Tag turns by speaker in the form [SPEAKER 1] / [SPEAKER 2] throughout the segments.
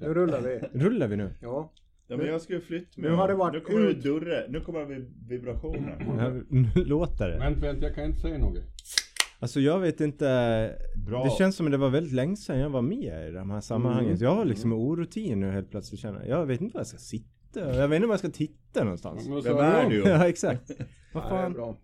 [SPEAKER 1] Nu rullar vi.
[SPEAKER 2] Rullar vi nu?
[SPEAKER 1] Ja.
[SPEAKER 3] Ja men jag ska ju flytta mig.
[SPEAKER 1] Nu har det varit
[SPEAKER 3] Nu kommer det
[SPEAKER 1] ut. Mm.
[SPEAKER 3] durre. Nu kommer det vib- vibrationer.
[SPEAKER 2] Ja, Nu låter det.
[SPEAKER 4] Vänt, vänt, jag kan inte säga något.
[SPEAKER 2] Alltså jag vet inte.
[SPEAKER 3] Bra.
[SPEAKER 2] Det känns som att det var väldigt länge sedan jag var med i de här sammanhangen.
[SPEAKER 4] Mm.
[SPEAKER 2] Så Jag har liksom orutin nu helt plötsligt känner jag. Jag vet inte var jag ska sitta. Jag vet inte var jag ska titta någonstans.
[SPEAKER 4] Men vad
[SPEAKER 3] Vem
[SPEAKER 4] sa
[SPEAKER 3] är
[SPEAKER 4] om?
[SPEAKER 3] du?
[SPEAKER 2] Ja exakt. Vad
[SPEAKER 1] Ja, det är
[SPEAKER 2] fan.
[SPEAKER 1] bra.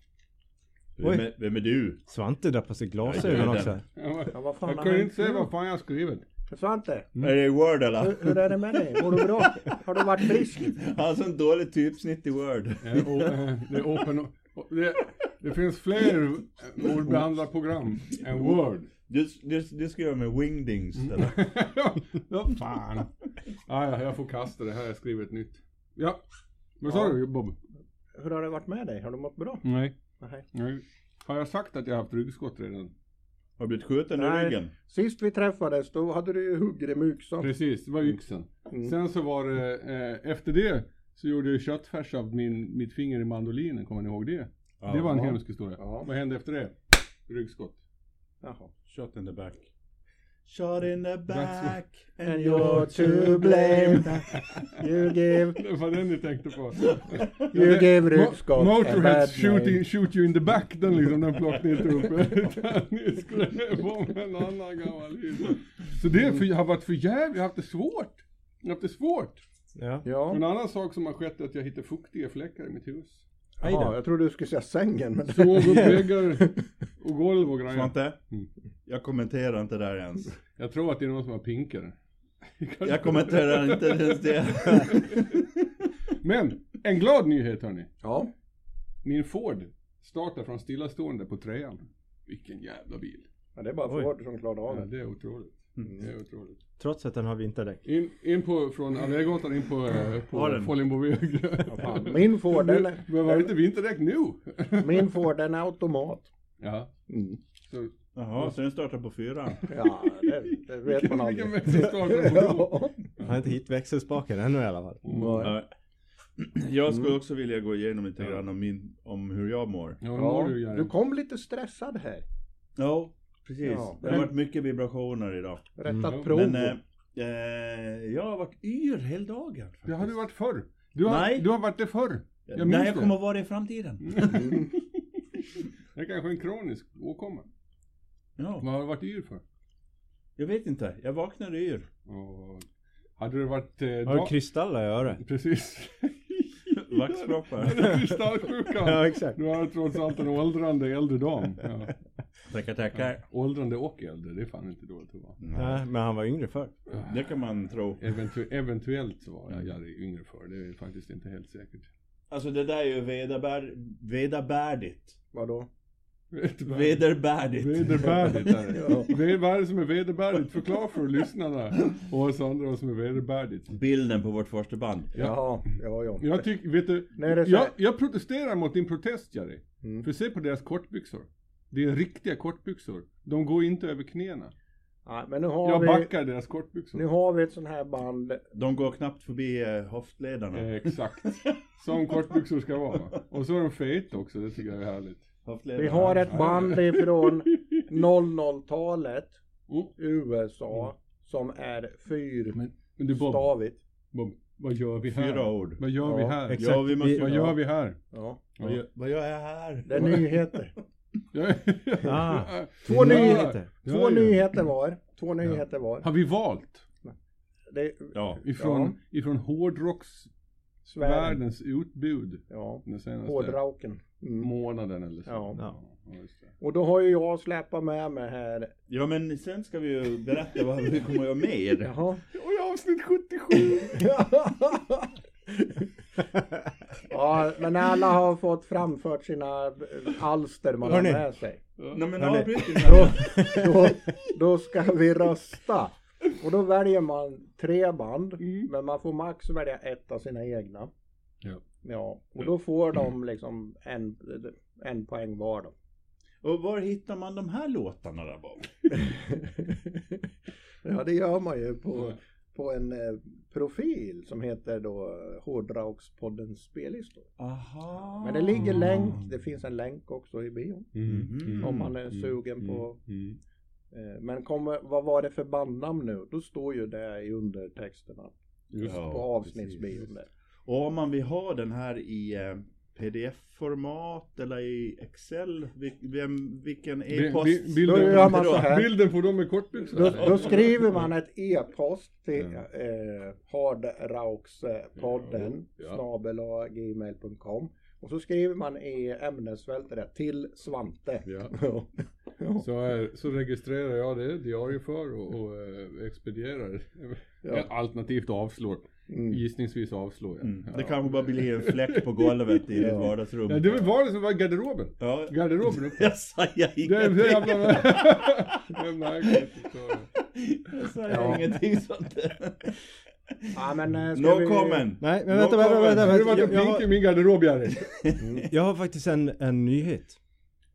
[SPEAKER 3] Vem är, vem är du?
[SPEAKER 2] Svante drar på sig
[SPEAKER 3] Jag
[SPEAKER 2] glasögon
[SPEAKER 3] är
[SPEAKER 2] också.
[SPEAKER 4] Jag var-
[SPEAKER 1] Ja, vad fan
[SPEAKER 4] Jag
[SPEAKER 1] har
[SPEAKER 4] kunde
[SPEAKER 1] hänt
[SPEAKER 4] inte säga
[SPEAKER 1] nu?
[SPEAKER 4] vad fan jag skrivit.
[SPEAKER 1] Svante,
[SPEAKER 3] Är det Word eller?
[SPEAKER 1] Mm. hur, hur är det med dig? Mår du bra? Har du varit frisk?
[SPEAKER 3] Han har sån dålig typsnitt i Word.
[SPEAKER 4] Eh, och, eh, Det är open... och Det, det finns fler ordbehandlarprogram än Word.
[SPEAKER 3] Du, du, du ska göra med wingdings
[SPEAKER 1] Mm.
[SPEAKER 3] eller?
[SPEAKER 4] Vad fan. Ah, ja, jag får kasta det här. Jag skriver ett nytt. Ja. Vad sa
[SPEAKER 1] Ja.
[SPEAKER 4] du Bob?
[SPEAKER 1] Hur har det varit med dig? Har du mått bra?
[SPEAKER 4] Nej.
[SPEAKER 1] Nej.
[SPEAKER 4] Nej. Har jag sagt att jag har haft ryggskott redan?
[SPEAKER 3] Har du blivit skjuten i
[SPEAKER 1] Nej.
[SPEAKER 3] ryggen?
[SPEAKER 1] Sist vi träffades då hade du ju huggrim yxa.
[SPEAKER 4] Precis, det var yxan.
[SPEAKER 1] Mm.
[SPEAKER 4] Sen så var det, eh, efter det så gjorde jag köttfärs av min, mitt finger i mandolinen, kommer ni ihåg det? det var en
[SPEAKER 1] Ja.
[SPEAKER 4] hemsk historia.
[SPEAKER 1] Ja.
[SPEAKER 4] Vad hände efter det? Ryggskott.
[SPEAKER 1] Jaha.
[SPEAKER 5] Shot in the back.
[SPEAKER 3] Shot in the
[SPEAKER 4] back
[SPEAKER 3] Mm.
[SPEAKER 1] And you're to blame. You give,
[SPEAKER 4] Det var den ni tänkte på.
[SPEAKER 1] you give
[SPEAKER 4] Mo-
[SPEAKER 1] ryggskott. a bad
[SPEAKER 4] Motorheads shoot,
[SPEAKER 1] name.
[SPEAKER 4] in, shoot you in the back, den liksom, den plockade ni inte upp. Utan ni skulle på med en annan gammal hit. Så det är för, har varit för jävligt, jag har haft det svårt. Jag har haft det svårt.
[SPEAKER 2] Ja.
[SPEAKER 4] Och en
[SPEAKER 1] Ja.
[SPEAKER 4] annan sak som har skett är att jag hittar fuktiga fläckar i mitt hus.
[SPEAKER 2] Hej då.
[SPEAKER 1] Jaha, jag trodde du skulle säga sängen. Men det...
[SPEAKER 4] Såg upp väggar och golv och grejer.
[SPEAKER 3] Svante?
[SPEAKER 4] Mm.
[SPEAKER 3] Jag kommenterar inte där ens.
[SPEAKER 4] Jag tror att det är någon som har pinkare.
[SPEAKER 3] Jag kommenterar inte ens det.
[SPEAKER 4] Men, en glad nyhet hörni.
[SPEAKER 1] Ja.
[SPEAKER 4] Min Ford startar från stillastående på trean. Vilken jävla bil.
[SPEAKER 1] Men det är bara
[SPEAKER 2] Oj.
[SPEAKER 1] Ford som klarar
[SPEAKER 4] Ja,
[SPEAKER 1] av det.
[SPEAKER 4] det är otroligt.
[SPEAKER 1] Mm.
[SPEAKER 4] Det är otroligt.
[SPEAKER 2] Trots att den har vinterdäck.
[SPEAKER 4] In, in på, från Allégatan in på, eh,
[SPEAKER 3] Har
[SPEAKER 4] på
[SPEAKER 3] den?
[SPEAKER 4] Follingboväg.
[SPEAKER 1] Fan, Min Ford, den är,
[SPEAKER 4] Men var det inte vinterdäck nu?
[SPEAKER 1] min Ford, den är automat.
[SPEAKER 4] Ja.
[SPEAKER 1] Mm.
[SPEAKER 4] Så,
[SPEAKER 3] Jaha, så den startar på fyran.
[SPEAKER 1] Ja, det, det vet man
[SPEAKER 4] vilken
[SPEAKER 1] aldrig.
[SPEAKER 4] växelstart den får då.
[SPEAKER 1] Ja.
[SPEAKER 2] Han har inte hit växelspaken ännu i alla fall.
[SPEAKER 1] Ja.
[SPEAKER 3] Nej. Jag skulle också vilja gå igenom lite grann om, min, om hur jag mår.
[SPEAKER 4] Ja, ja, du,
[SPEAKER 1] Du
[SPEAKER 4] Jari.
[SPEAKER 1] kom lite stressad här.
[SPEAKER 3] Ja, precis.
[SPEAKER 1] Ja.
[SPEAKER 3] Det har varit mycket vibrationer idag.
[SPEAKER 1] Rättat
[SPEAKER 4] Mm.
[SPEAKER 1] prov.
[SPEAKER 3] Men eh, eh, jag har varit yr hela dagen. faktiskt.
[SPEAKER 4] det har du varit förr. Du har,
[SPEAKER 3] Nej.
[SPEAKER 4] du har varit det förr. Jag minns
[SPEAKER 3] Nej, jag
[SPEAKER 4] det.
[SPEAKER 3] kommer att vara det i framtiden.
[SPEAKER 4] Det är kanske en kronisk åkomma.
[SPEAKER 3] Ja,
[SPEAKER 4] Vad har du varit yr för?
[SPEAKER 3] jag vet inte. Jag vaknade yr.
[SPEAKER 4] Och, hade du varit... Eh,
[SPEAKER 2] Har du
[SPEAKER 4] dag-
[SPEAKER 2] kristaller i örat?
[SPEAKER 4] Precis.
[SPEAKER 3] Vaxproppar.
[SPEAKER 4] Kristallsjukan.
[SPEAKER 2] Ja exakt.
[SPEAKER 4] Du har trots allt en åldrande äldre dam. Ja.
[SPEAKER 3] Tackar, tackar.
[SPEAKER 4] Åldrande och äldre, det är fan inte dåligt att vara.
[SPEAKER 2] Nej, men han var yngre förr.
[SPEAKER 3] Det kan man tro.
[SPEAKER 4] Eventu- eventuellt så var
[SPEAKER 1] Mm.
[SPEAKER 4] jag Jari yngre för det är faktiskt inte helt säkert.
[SPEAKER 3] Alltså det där är ju vedabär, vedabärdigt.
[SPEAKER 1] Vadå?
[SPEAKER 4] Vederbärdigt.
[SPEAKER 3] Vederbärdigt.
[SPEAKER 4] Vederbärdigt är det. Ve- Vad är det som är vederbärdigt? Förklara för lyssnarna och oss andra vad som är vederbärdigt.
[SPEAKER 3] Bilden på vårt första band.
[SPEAKER 1] Jaha, ja, ja.
[SPEAKER 4] Jag tycker, vet du,
[SPEAKER 1] Nej, det är så
[SPEAKER 4] jag,
[SPEAKER 1] här.
[SPEAKER 4] jag protesterar mot din protest Jari.
[SPEAKER 1] Mm.
[SPEAKER 4] För se på deras kortbyxor. Det är riktiga kortbyxor. De går inte över knäna.
[SPEAKER 1] Nej, men nu har,
[SPEAKER 4] Jag
[SPEAKER 1] vi,
[SPEAKER 4] backar deras
[SPEAKER 1] nu
[SPEAKER 4] kortbyxor.
[SPEAKER 1] har vi ett sånt här band.
[SPEAKER 3] De går knappt förbi eh, höftledarna.
[SPEAKER 4] Eh, exakt. Som kortbyxor ska vara. Och så är de feta också, det tycker jag är härligt.
[SPEAKER 3] höftledarna.
[SPEAKER 1] Vi har ett band ifrån 00-talet,
[SPEAKER 4] Mm.
[SPEAKER 1] USA, som är
[SPEAKER 4] Men du Bob,
[SPEAKER 1] fyrstavigt.
[SPEAKER 4] Bob vad gör vi här?
[SPEAKER 3] Fyra ord.
[SPEAKER 4] Vad gör vi
[SPEAKER 1] Ja,
[SPEAKER 4] här?
[SPEAKER 2] Exakt.
[SPEAKER 3] Ja, vi måste ju-
[SPEAKER 4] Vad gör vi här?
[SPEAKER 1] Ja.
[SPEAKER 3] Vad gör- Vad gör jag här?
[SPEAKER 1] Det är nyheter.
[SPEAKER 2] Ah,
[SPEAKER 1] Två
[SPEAKER 4] Ja,
[SPEAKER 1] nyheter.
[SPEAKER 4] ja,
[SPEAKER 1] Två
[SPEAKER 4] ja.
[SPEAKER 1] nyheter var. Två nyheter var.
[SPEAKER 4] Har vi valt?
[SPEAKER 1] Det,
[SPEAKER 3] Ja.
[SPEAKER 4] Ifrån, ifrån hårdrocksvärldens
[SPEAKER 1] svärden.
[SPEAKER 4] utbud
[SPEAKER 1] Ja.
[SPEAKER 4] den senaste
[SPEAKER 1] Hårdrauken. Mm.
[SPEAKER 4] månaden eller så.
[SPEAKER 1] Ja.
[SPEAKER 4] ja just det.
[SPEAKER 1] Och då har ju jag släpat med mig här.
[SPEAKER 3] ja, men sen ska vi ju berätta vad vi kommer att göra mer.
[SPEAKER 1] Jaha.
[SPEAKER 4] Och i avsnitt 77!
[SPEAKER 1] ja, men alla har fått framfört sina eh, alster man har
[SPEAKER 2] Hörni.
[SPEAKER 1] med sig.
[SPEAKER 3] Nej men
[SPEAKER 2] Hörni.
[SPEAKER 3] avbryt
[SPEAKER 1] Då,
[SPEAKER 3] inte.
[SPEAKER 1] då, då ska vi rösta. Och då väljer man tre band, men man får max välja ett av sina egna.
[SPEAKER 4] Ja.
[SPEAKER 1] Ja, och då får de liksom en, en poäng var då.
[SPEAKER 3] Och var hittar man de här låtarna där Bob?
[SPEAKER 1] ja, det gör man ju på, på en eh, profil som heter då eh, Hårdrockspoddens spellistor.
[SPEAKER 3] Aha.
[SPEAKER 1] Men det ligger
[SPEAKER 3] Mm.
[SPEAKER 1] länk, det finns en länk också i bion
[SPEAKER 4] Mm.
[SPEAKER 1] om man är sugen på
[SPEAKER 4] Mm.
[SPEAKER 1] Eh, Men kommer, vad var det för bandnamn nu? Då står ju det i undertexterna
[SPEAKER 4] Just
[SPEAKER 3] Ja,
[SPEAKER 1] på avsnittsbion. där.
[SPEAKER 3] Och om man vill ha den här i eh, pdf-format eller i Excel, vil- vem, vilken
[SPEAKER 4] Bi-
[SPEAKER 3] e-post?
[SPEAKER 4] bi-
[SPEAKER 1] Då
[SPEAKER 4] bilden,
[SPEAKER 1] gör man så här.
[SPEAKER 4] bilden på dem med
[SPEAKER 1] Då,
[SPEAKER 4] kortbyxor.
[SPEAKER 1] då skriver man ett e-post till
[SPEAKER 4] Ja.
[SPEAKER 1] eh, hardraukspodden
[SPEAKER 4] Ja.
[SPEAKER 1] snabel gmail.com och så skriver man i ämnesfältet där, till Svante.
[SPEAKER 4] Ja. Så, här, så registrerar jag det, diarieför och, och eh, expedierar.
[SPEAKER 1] Ja.
[SPEAKER 4] Alternativt avslår.
[SPEAKER 1] Mm.
[SPEAKER 4] Gissningsvis avslår jag.
[SPEAKER 3] Mm. Det
[SPEAKER 4] Ja.
[SPEAKER 3] kanske bara blir en fläck på golvet i ditt
[SPEAKER 1] Ja.
[SPEAKER 3] vardagsrum.
[SPEAKER 4] Ja, det var var det som var garderoben.
[SPEAKER 3] Ja,
[SPEAKER 4] Garderoben uppe.
[SPEAKER 3] jag säger
[SPEAKER 4] Det är så
[SPEAKER 3] ingenting.
[SPEAKER 4] jävla... Det är märkligt. Så-
[SPEAKER 3] Jag säger
[SPEAKER 1] Ja.
[SPEAKER 3] ingenting sånt.
[SPEAKER 1] Ja, men, eh, ska
[SPEAKER 3] No
[SPEAKER 1] vi-
[SPEAKER 3] comment.
[SPEAKER 2] Nej, men
[SPEAKER 3] No
[SPEAKER 2] vänta, vänta,
[SPEAKER 3] comment.
[SPEAKER 2] vänta,
[SPEAKER 4] Nu har det
[SPEAKER 2] vänta.
[SPEAKER 4] varit en
[SPEAKER 2] Jag, jag,
[SPEAKER 4] pink i
[SPEAKER 2] har,
[SPEAKER 4] min garderob Jerry.
[SPEAKER 2] jag har faktiskt en, en nyhet.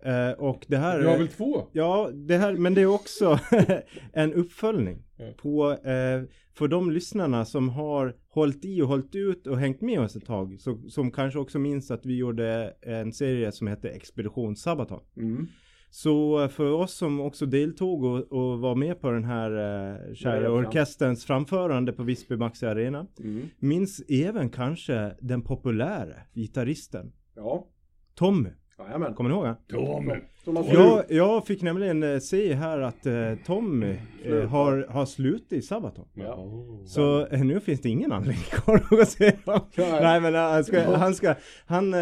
[SPEAKER 2] Eh, och det här...
[SPEAKER 4] Du har väl två?
[SPEAKER 2] Ja, det här, men det är också en uppföljning
[SPEAKER 4] Ja.
[SPEAKER 2] på, eh, för de lyssnarna som har hållit i och hållit ut och hängt med oss ett tag, så, som kanske också minns att vi gjorde en serie som hette Expedition Sabaton.
[SPEAKER 1] Mm.
[SPEAKER 2] Så för oss som också deltog och, och var med på den här eh,
[SPEAKER 1] Ja,
[SPEAKER 2] kära
[SPEAKER 1] ja.
[SPEAKER 2] orkesterns framförande på Visby Maxi Arena,
[SPEAKER 1] Mm.
[SPEAKER 2] minns även kanske den populära gitarristen
[SPEAKER 1] Ja,
[SPEAKER 2] Tommy.
[SPEAKER 1] jajamän.
[SPEAKER 2] Kommer ni ihåg han?
[SPEAKER 4] Tommy.
[SPEAKER 1] Så man får
[SPEAKER 2] Jag, jag fick nämligen eh, se här att eh, Tommy eh, har, har slutit i Sabaton.
[SPEAKER 1] Ja.
[SPEAKER 2] Så eh, nu finns det ingen anledning kvar att se honom.
[SPEAKER 1] Nej.
[SPEAKER 2] Nej men eh, han ska, han ska, han eh,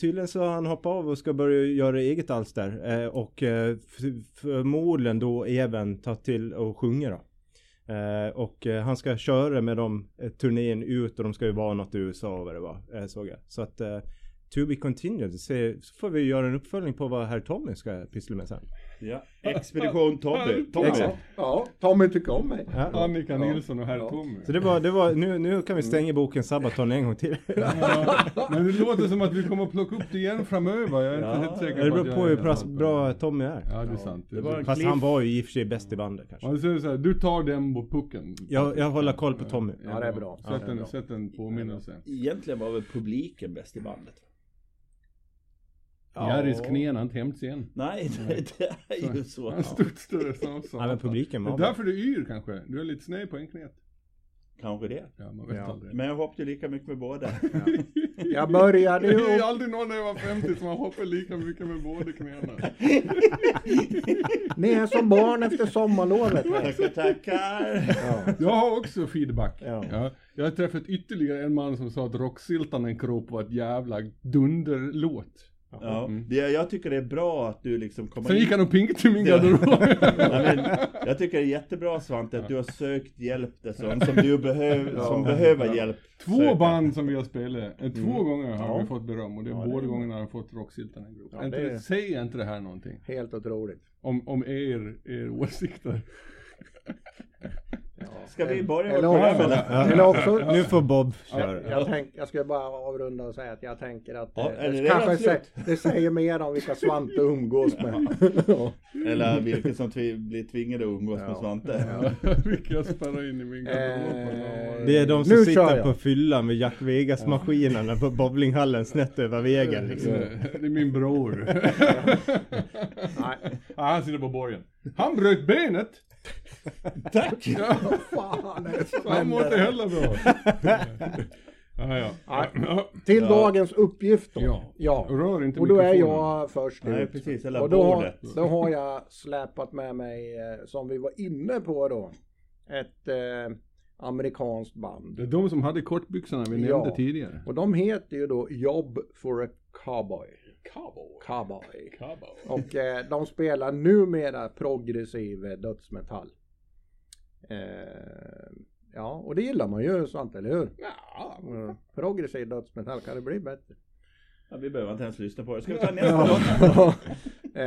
[SPEAKER 2] tydligen så har han hoppat av och ska börja göra eget alster. Eh, och eh, f- förmodligen då även ta till och sjunga då. Eh, och eh, han ska köra med dem eh, turnén ut och de ska ju vara något i USA och vad det var, eh, såg jag. Så att eh, To be continued, så så får vi göra en uppföljning på vad herr Tommy ska pyssla med sen.
[SPEAKER 3] Ja. Expedition Tobbe. Tobbe.
[SPEAKER 1] Ja, ja, Tommy tycker om mig.
[SPEAKER 2] Ja.
[SPEAKER 4] Annika Nilsson och herr
[SPEAKER 1] Ja.
[SPEAKER 4] Tommy.
[SPEAKER 2] Så det var, det var nu, nu kan vi stänga boken Sabaton en gång till.
[SPEAKER 4] Ja, men det låter som att vi kommer att plocka upp det igen framöver. Jag är inte helt säker på
[SPEAKER 2] Det beror
[SPEAKER 4] att
[SPEAKER 2] på
[SPEAKER 4] jag
[SPEAKER 2] hur
[SPEAKER 4] är
[SPEAKER 2] pass
[SPEAKER 4] helt-
[SPEAKER 2] bra Tommy är.
[SPEAKER 4] Ja, det är sant.
[SPEAKER 3] Det var en
[SPEAKER 2] Fast
[SPEAKER 3] cliff.
[SPEAKER 2] han var ju i och för sig bäst i bandet kanske.
[SPEAKER 4] Man säger så här, du tar den på pucken. Eh,
[SPEAKER 2] Jag, jag håller koll på Tommy.
[SPEAKER 1] Ja, det är bra. Ja,
[SPEAKER 4] Sätt
[SPEAKER 1] det är
[SPEAKER 4] en,
[SPEAKER 1] bra.
[SPEAKER 4] sätt en påminnelse.
[SPEAKER 3] Egentligen var väl publiken bäst i bandet?
[SPEAKER 4] Jerrys knän har inte hämts igen.
[SPEAKER 3] Nej, det, det är ju så.
[SPEAKER 4] Han studsade som
[SPEAKER 2] Ja, men publiken
[SPEAKER 4] Det är
[SPEAKER 2] var bra.
[SPEAKER 4] därför du är yr kanske. Du är lite sned på en knät.
[SPEAKER 3] Kanske det.
[SPEAKER 4] Ja, man vet
[SPEAKER 2] Ja.
[SPEAKER 4] aldrig.
[SPEAKER 3] Men jag hoppade lika mycket med båda.
[SPEAKER 1] Jag började
[SPEAKER 4] Det är
[SPEAKER 1] ju
[SPEAKER 4] ju aldrig någon när jag var 50 som har hoppat lika mycket med båda knäna.
[SPEAKER 1] Ni är som barn efter sommarlovet. va?
[SPEAKER 3] Tackar, tackar.
[SPEAKER 1] Ja.
[SPEAKER 4] Jag har också feedback.
[SPEAKER 2] Ja.
[SPEAKER 4] Ja, jag har träffat ytterligare en man som sa att Rocksiltanen krop var ett jävla dunderlåt.
[SPEAKER 3] Ja, det, jag tycker det är bra att du liksom kommer
[SPEAKER 4] Sen
[SPEAKER 3] in.
[SPEAKER 4] gick han och pingade till min garderob.
[SPEAKER 3] Ja, men, jag tycker det är jättebra Svante att du har sökt hjälp till sånt som du behöver, som behöver hjälp.
[SPEAKER 4] Två
[SPEAKER 3] söka.
[SPEAKER 4] band som vi har spelat, eh, två gånger har
[SPEAKER 1] Ja.
[SPEAKER 4] vi fått beröm och det är
[SPEAKER 1] Ja, det
[SPEAKER 4] båda
[SPEAKER 1] är-
[SPEAKER 4] gångerna har vi fått Rocksiltanen krop.
[SPEAKER 1] Ja,
[SPEAKER 4] Inte
[SPEAKER 1] det-
[SPEAKER 4] det... Säger inte det här någonting?
[SPEAKER 1] Helt otroligt.
[SPEAKER 4] Om, om er, er åsikter.
[SPEAKER 3] Ska vi börja med
[SPEAKER 1] Eller också,
[SPEAKER 3] programmet?
[SPEAKER 1] eller också
[SPEAKER 2] Nu får Bob köra.
[SPEAKER 1] jag, tänk, jag ska bara avrunda och säga att jag tänker att
[SPEAKER 3] Ja,
[SPEAKER 1] eh,
[SPEAKER 3] är det
[SPEAKER 1] det,
[SPEAKER 3] redan
[SPEAKER 1] kanske sä,
[SPEAKER 3] slut?
[SPEAKER 1] det säger mer om vilka Svante umgås med. Ja.
[SPEAKER 3] Eller vilken som tvi, blir tvingade att umgås med Svante.
[SPEAKER 4] Vilka jag spärrar in i
[SPEAKER 1] Eh,
[SPEAKER 4] min garderob.
[SPEAKER 2] Det är de som
[SPEAKER 1] Nu kör
[SPEAKER 2] sitter
[SPEAKER 1] jag.
[SPEAKER 2] på fyllan med Jack Vegas-maskinerna på bowlinghallen snett över vägen. Liksom.
[SPEAKER 4] Eh, Det är min bror.
[SPEAKER 1] Nej,
[SPEAKER 4] Ja, han sitter på borgen. Han bröt benet!
[SPEAKER 3] Tack!
[SPEAKER 1] vad fan är det som
[SPEAKER 4] Han mår inte
[SPEAKER 1] händer?
[SPEAKER 4] heller bra. ja, ja. ja.
[SPEAKER 1] Till dagens uppgift då.
[SPEAKER 4] Ja. Rör inte
[SPEAKER 1] Och då är
[SPEAKER 4] mikrofonen.
[SPEAKER 1] jag först
[SPEAKER 3] Nej,
[SPEAKER 1] ut.
[SPEAKER 3] precis, eller
[SPEAKER 1] Och då har,
[SPEAKER 3] bordet.
[SPEAKER 1] då har jag släpat med mig, eh, som vi var inne på då, ett eh, amerikanskt band.
[SPEAKER 4] Det är de som hade kortbyxorna vi
[SPEAKER 1] Ja.
[SPEAKER 4] nämnde tidigare.
[SPEAKER 1] Och de heter ju då Job for a Cowboy.
[SPEAKER 4] Cowboy.
[SPEAKER 1] Cowboy.
[SPEAKER 4] Cowboy.
[SPEAKER 1] Och eh, de spelar numera progressiv eh, dödsmetall. Eh, ja, och det gillar man ju Svante, eller hur?
[SPEAKER 4] Ja.
[SPEAKER 1] Mm. Progressiv dödsmetall, kan det bli bättre?
[SPEAKER 3] Ja, vi behöver inte ens lyssna på det. Ska vi ta nästa låt?
[SPEAKER 1] eh,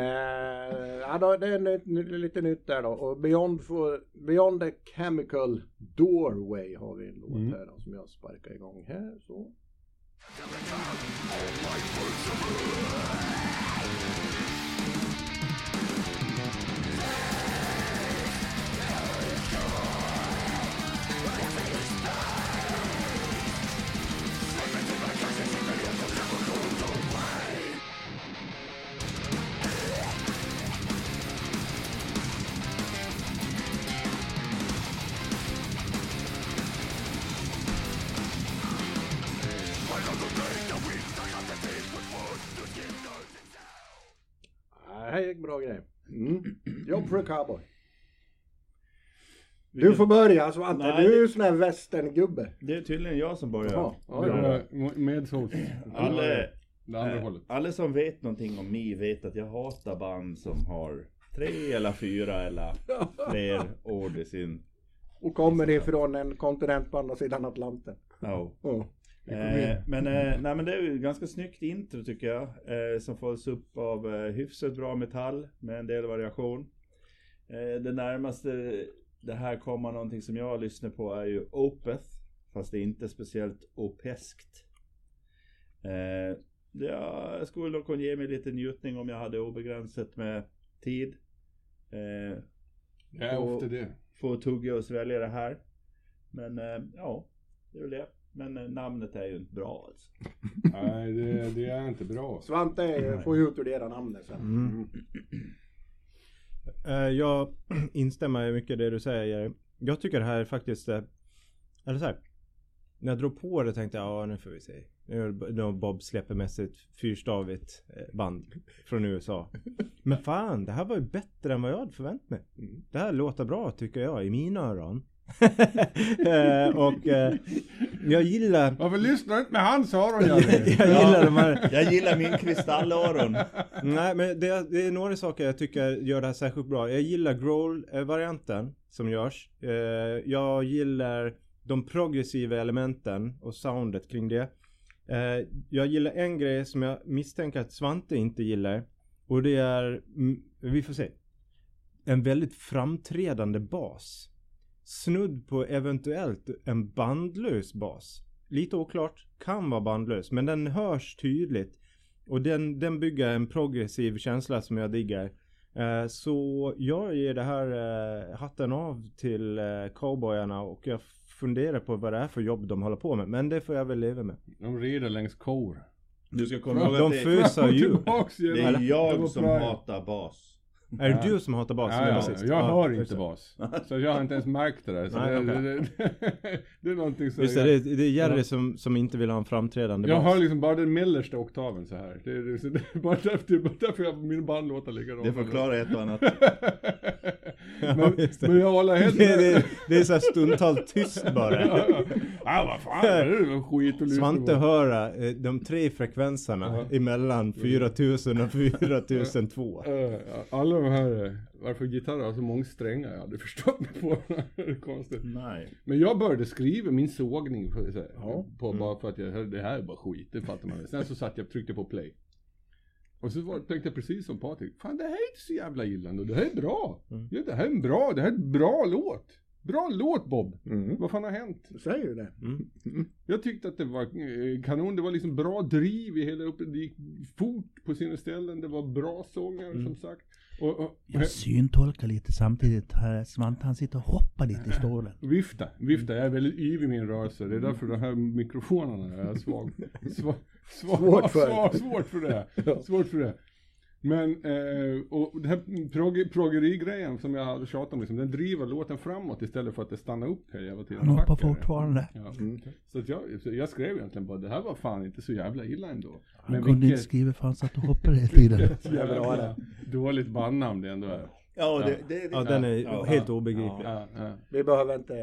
[SPEAKER 1] ja, då, det är nytt, nytt- lite nytt där då. Och Beyond, for, Beyond the Chemical Doorway har vi en låt här då, som jag sparkar igång här. Så.
[SPEAKER 5] Thank
[SPEAKER 1] Det här gick bra grej. Mm. Jobb för en cowboy. Du får börja Svante,
[SPEAKER 3] Nej,
[SPEAKER 1] du är ju sån här västerngubbe.
[SPEAKER 3] Det är tydligen jag som börjar.
[SPEAKER 1] Ja, ja, ja.
[SPEAKER 4] Ja, Med Souls.
[SPEAKER 3] Alla,
[SPEAKER 4] Det andra
[SPEAKER 3] eh,
[SPEAKER 4] hållet.
[SPEAKER 3] alla som vet någonting om mig vet att jag hatar band som har tre eller fyra eller fler ord i sin...
[SPEAKER 1] Och kommer ifrån en kontinent på andra sidan Atlanten.
[SPEAKER 3] Ja.
[SPEAKER 1] Ja.
[SPEAKER 3] Eh, men, eh, nej, men det är ju ett ganska snyggt intro tycker jag. Eh, som följs upp av eh, hyfsat bra metall med en del variation. Eh, det närmaste det här kommer någonting som jag lyssnar på är ju Opeth. Fast det är inte speciellt opeskt. Eh, det- ja, jag skulle nog kunna ge mig lite njutning om jag hade obegränsat med tid. Eh,
[SPEAKER 4] Det är ofta det.
[SPEAKER 3] få tugga och svälja det här. Men eh, ja, det är väl det. Men eh, namnet är ju inte bra alltså.
[SPEAKER 4] Nej, det, det är inte bra.
[SPEAKER 1] Svante får ju utvärdera namnet sen.
[SPEAKER 2] Mm. Eh, Jag instämmer i mycket i det du säger Jerry. Jag tycker det här är faktiskt eh, Eller så här. När jag drog på det tänkte jag ja nu får vi se. Nu är det b- nu har Bob släpper med sig ett fyrstavigt eh, band från USA. Men fan det här var ju bättre än vad jag hade förväntat mig. Mm. Det här låter bra tycker jag i mina öron. Eh, och eh, jag gillar
[SPEAKER 4] Varför lyssnar du inte med hans öron Janne?
[SPEAKER 2] Jag gillar de här
[SPEAKER 3] Jag gillar min kristallöron.
[SPEAKER 2] Nej men det, det är några saker jag tycker gör det här särskilt bra. Jag gillar growl-varianten som görs. Eh, jag gillar de progressiva elementen och soundet kring det. Eh, jag gillar en grej som jag misstänker att Svante inte gillar. Och det är, mm, vi får se. En väldigt framträdande bas. Snudd på eventuellt en bandlös bas. Lite oklart, kan vara bandlös men den hörs tydligt. Och den, den bygger en progressiv känsla som jag diggar. Eh, så jag ger det här eh, hatten av till eh, cowboyarna och jag funderar på vad det är för jobb de håller på med. Men det får jag väl leva med.
[SPEAKER 4] De rider längs kor.
[SPEAKER 3] Du ska komma ihåg att
[SPEAKER 2] De
[SPEAKER 3] det,
[SPEAKER 2] fusar
[SPEAKER 4] Och
[SPEAKER 2] ju.
[SPEAKER 4] tillbaks
[SPEAKER 3] det
[SPEAKER 4] igen.
[SPEAKER 3] är
[SPEAKER 4] Det var
[SPEAKER 3] jag som
[SPEAKER 4] bra.
[SPEAKER 3] hatar bas.
[SPEAKER 2] Är det du som hatar basen?
[SPEAKER 4] Ja,
[SPEAKER 2] Ja,
[SPEAKER 4] ja,
[SPEAKER 2] precis.
[SPEAKER 4] jag
[SPEAKER 2] Ja,
[SPEAKER 4] hör
[SPEAKER 2] just
[SPEAKER 4] inte
[SPEAKER 2] det.
[SPEAKER 4] bas. Så jag har inte ens märkt det där. Så
[SPEAKER 2] Nej,
[SPEAKER 4] det,
[SPEAKER 2] okej.
[SPEAKER 4] det, det, det är någonting som...
[SPEAKER 2] Just det,
[SPEAKER 4] jag,
[SPEAKER 2] det, är- det är Jerry som, som inte vill ha en framträdande
[SPEAKER 4] jag
[SPEAKER 2] bas.
[SPEAKER 4] hör liksom bara den mellersta oktaven så här. Det, är- det, så det, är bara därför, det är bara därför jag, min band låter likadant.
[SPEAKER 3] Det förklarar ett och annat.
[SPEAKER 4] men,
[SPEAKER 2] just det.
[SPEAKER 4] men jag håller helt
[SPEAKER 2] det,
[SPEAKER 4] med.
[SPEAKER 2] det, det är så här stundtals tyst bara.
[SPEAKER 4] Ja, vad fan, det är väl skit att lyssna
[SPEAKER 2] Svante
[SPEAKER 4] på.
[SPEAKER 2] höra eh, de tre frekvenserna
[SPEAKER 4] Ja.
[SPEAKER 2] emellan
[SPEAKER 3] Mm.
[SPEAKER 2] 4000 och 4002.
[SPEAKER 4] Eh, Alla de här, eh, varför gitarrer har så många strängar, jag hade förstått mig på. det är konstigt.
[SPEAKER 3] Nej.
[SPEAKER 4] Men jag började skriva min sågning på, så här,
[SPEAKER 1] Ja.
[SPEAKER 4] på bara för att jag hörde det här är bara skit, det fattar man väl. Sen så satt jag och tryckte på play. Och så var, tänkte jag precis som Patrik, fan det här är inte så jävla illa och det här är bra.
[SPEAKER 2] Mm.
[SPEAKER 4] Ja, det här är en bra, det här är en bra låt. Bra låt Bob!
[SPEAKER 1] Mm.
[SPEAKER 4] Vad fan har hänt?
[SPEAKER 1] Du säger ju det.
[SPEAKER 4] Jag tyckte att det var eh, kanon, det var liksom bra driv i hela uppe, det gick fort på sina ställen, det var bra sångare som sagt. Och, och,
[SPEAKER 5] Mm.
[SPEAKER 4] eh,
[SPEAKER 5] Jag syntolkar lite samtidigt. Här Svante han sitter och hoppar lite i stolen.
[SPEAKER 4] Vifta, vifta. Jag är väldigt yvig i min rörelse. Det är därför de här mikrofonerna är svag. Sva, sva,
[SPEAKER 1] Svårt för.
[SPEAKER 4] sva- svårt för det. Svårt för det. Men, eh, och det här prog- proggeri-grejen som jag hade tjatat om, liksom, den driver låten framåt istället för att det stannar upp hela jävla tiden.
[SPEAKER 5] Han hoppar
[SPEAKER 4] Fuck är det.
[SPEAKER 5] fortfarande.
[SPEAKER 4] Ja. Mm. Så, att jag, så jag skrev egentligen bara, det här var fan inte så jävla illa ändå.
[SPEAKER 5] Han
[SPEAKER 4] Men
[SPEAKER 5] kunde inte
[SPEAKER 4] vilket
[SPEAKER 5] skriva för han satt och hoppade hela tiden.
[SPEAKER 4] jävla dåligt bandnamn det ändå är.
[SPEAKER 3] Ja, det, det,
[SPEAKER 2] Ja, den är
[SPEAKER 3] Ja.
[SPEAKER 2] helt obegriplig.
[SPEAKER 4] Ja, ja.
[SPEAKER 1] Vi behöver inte...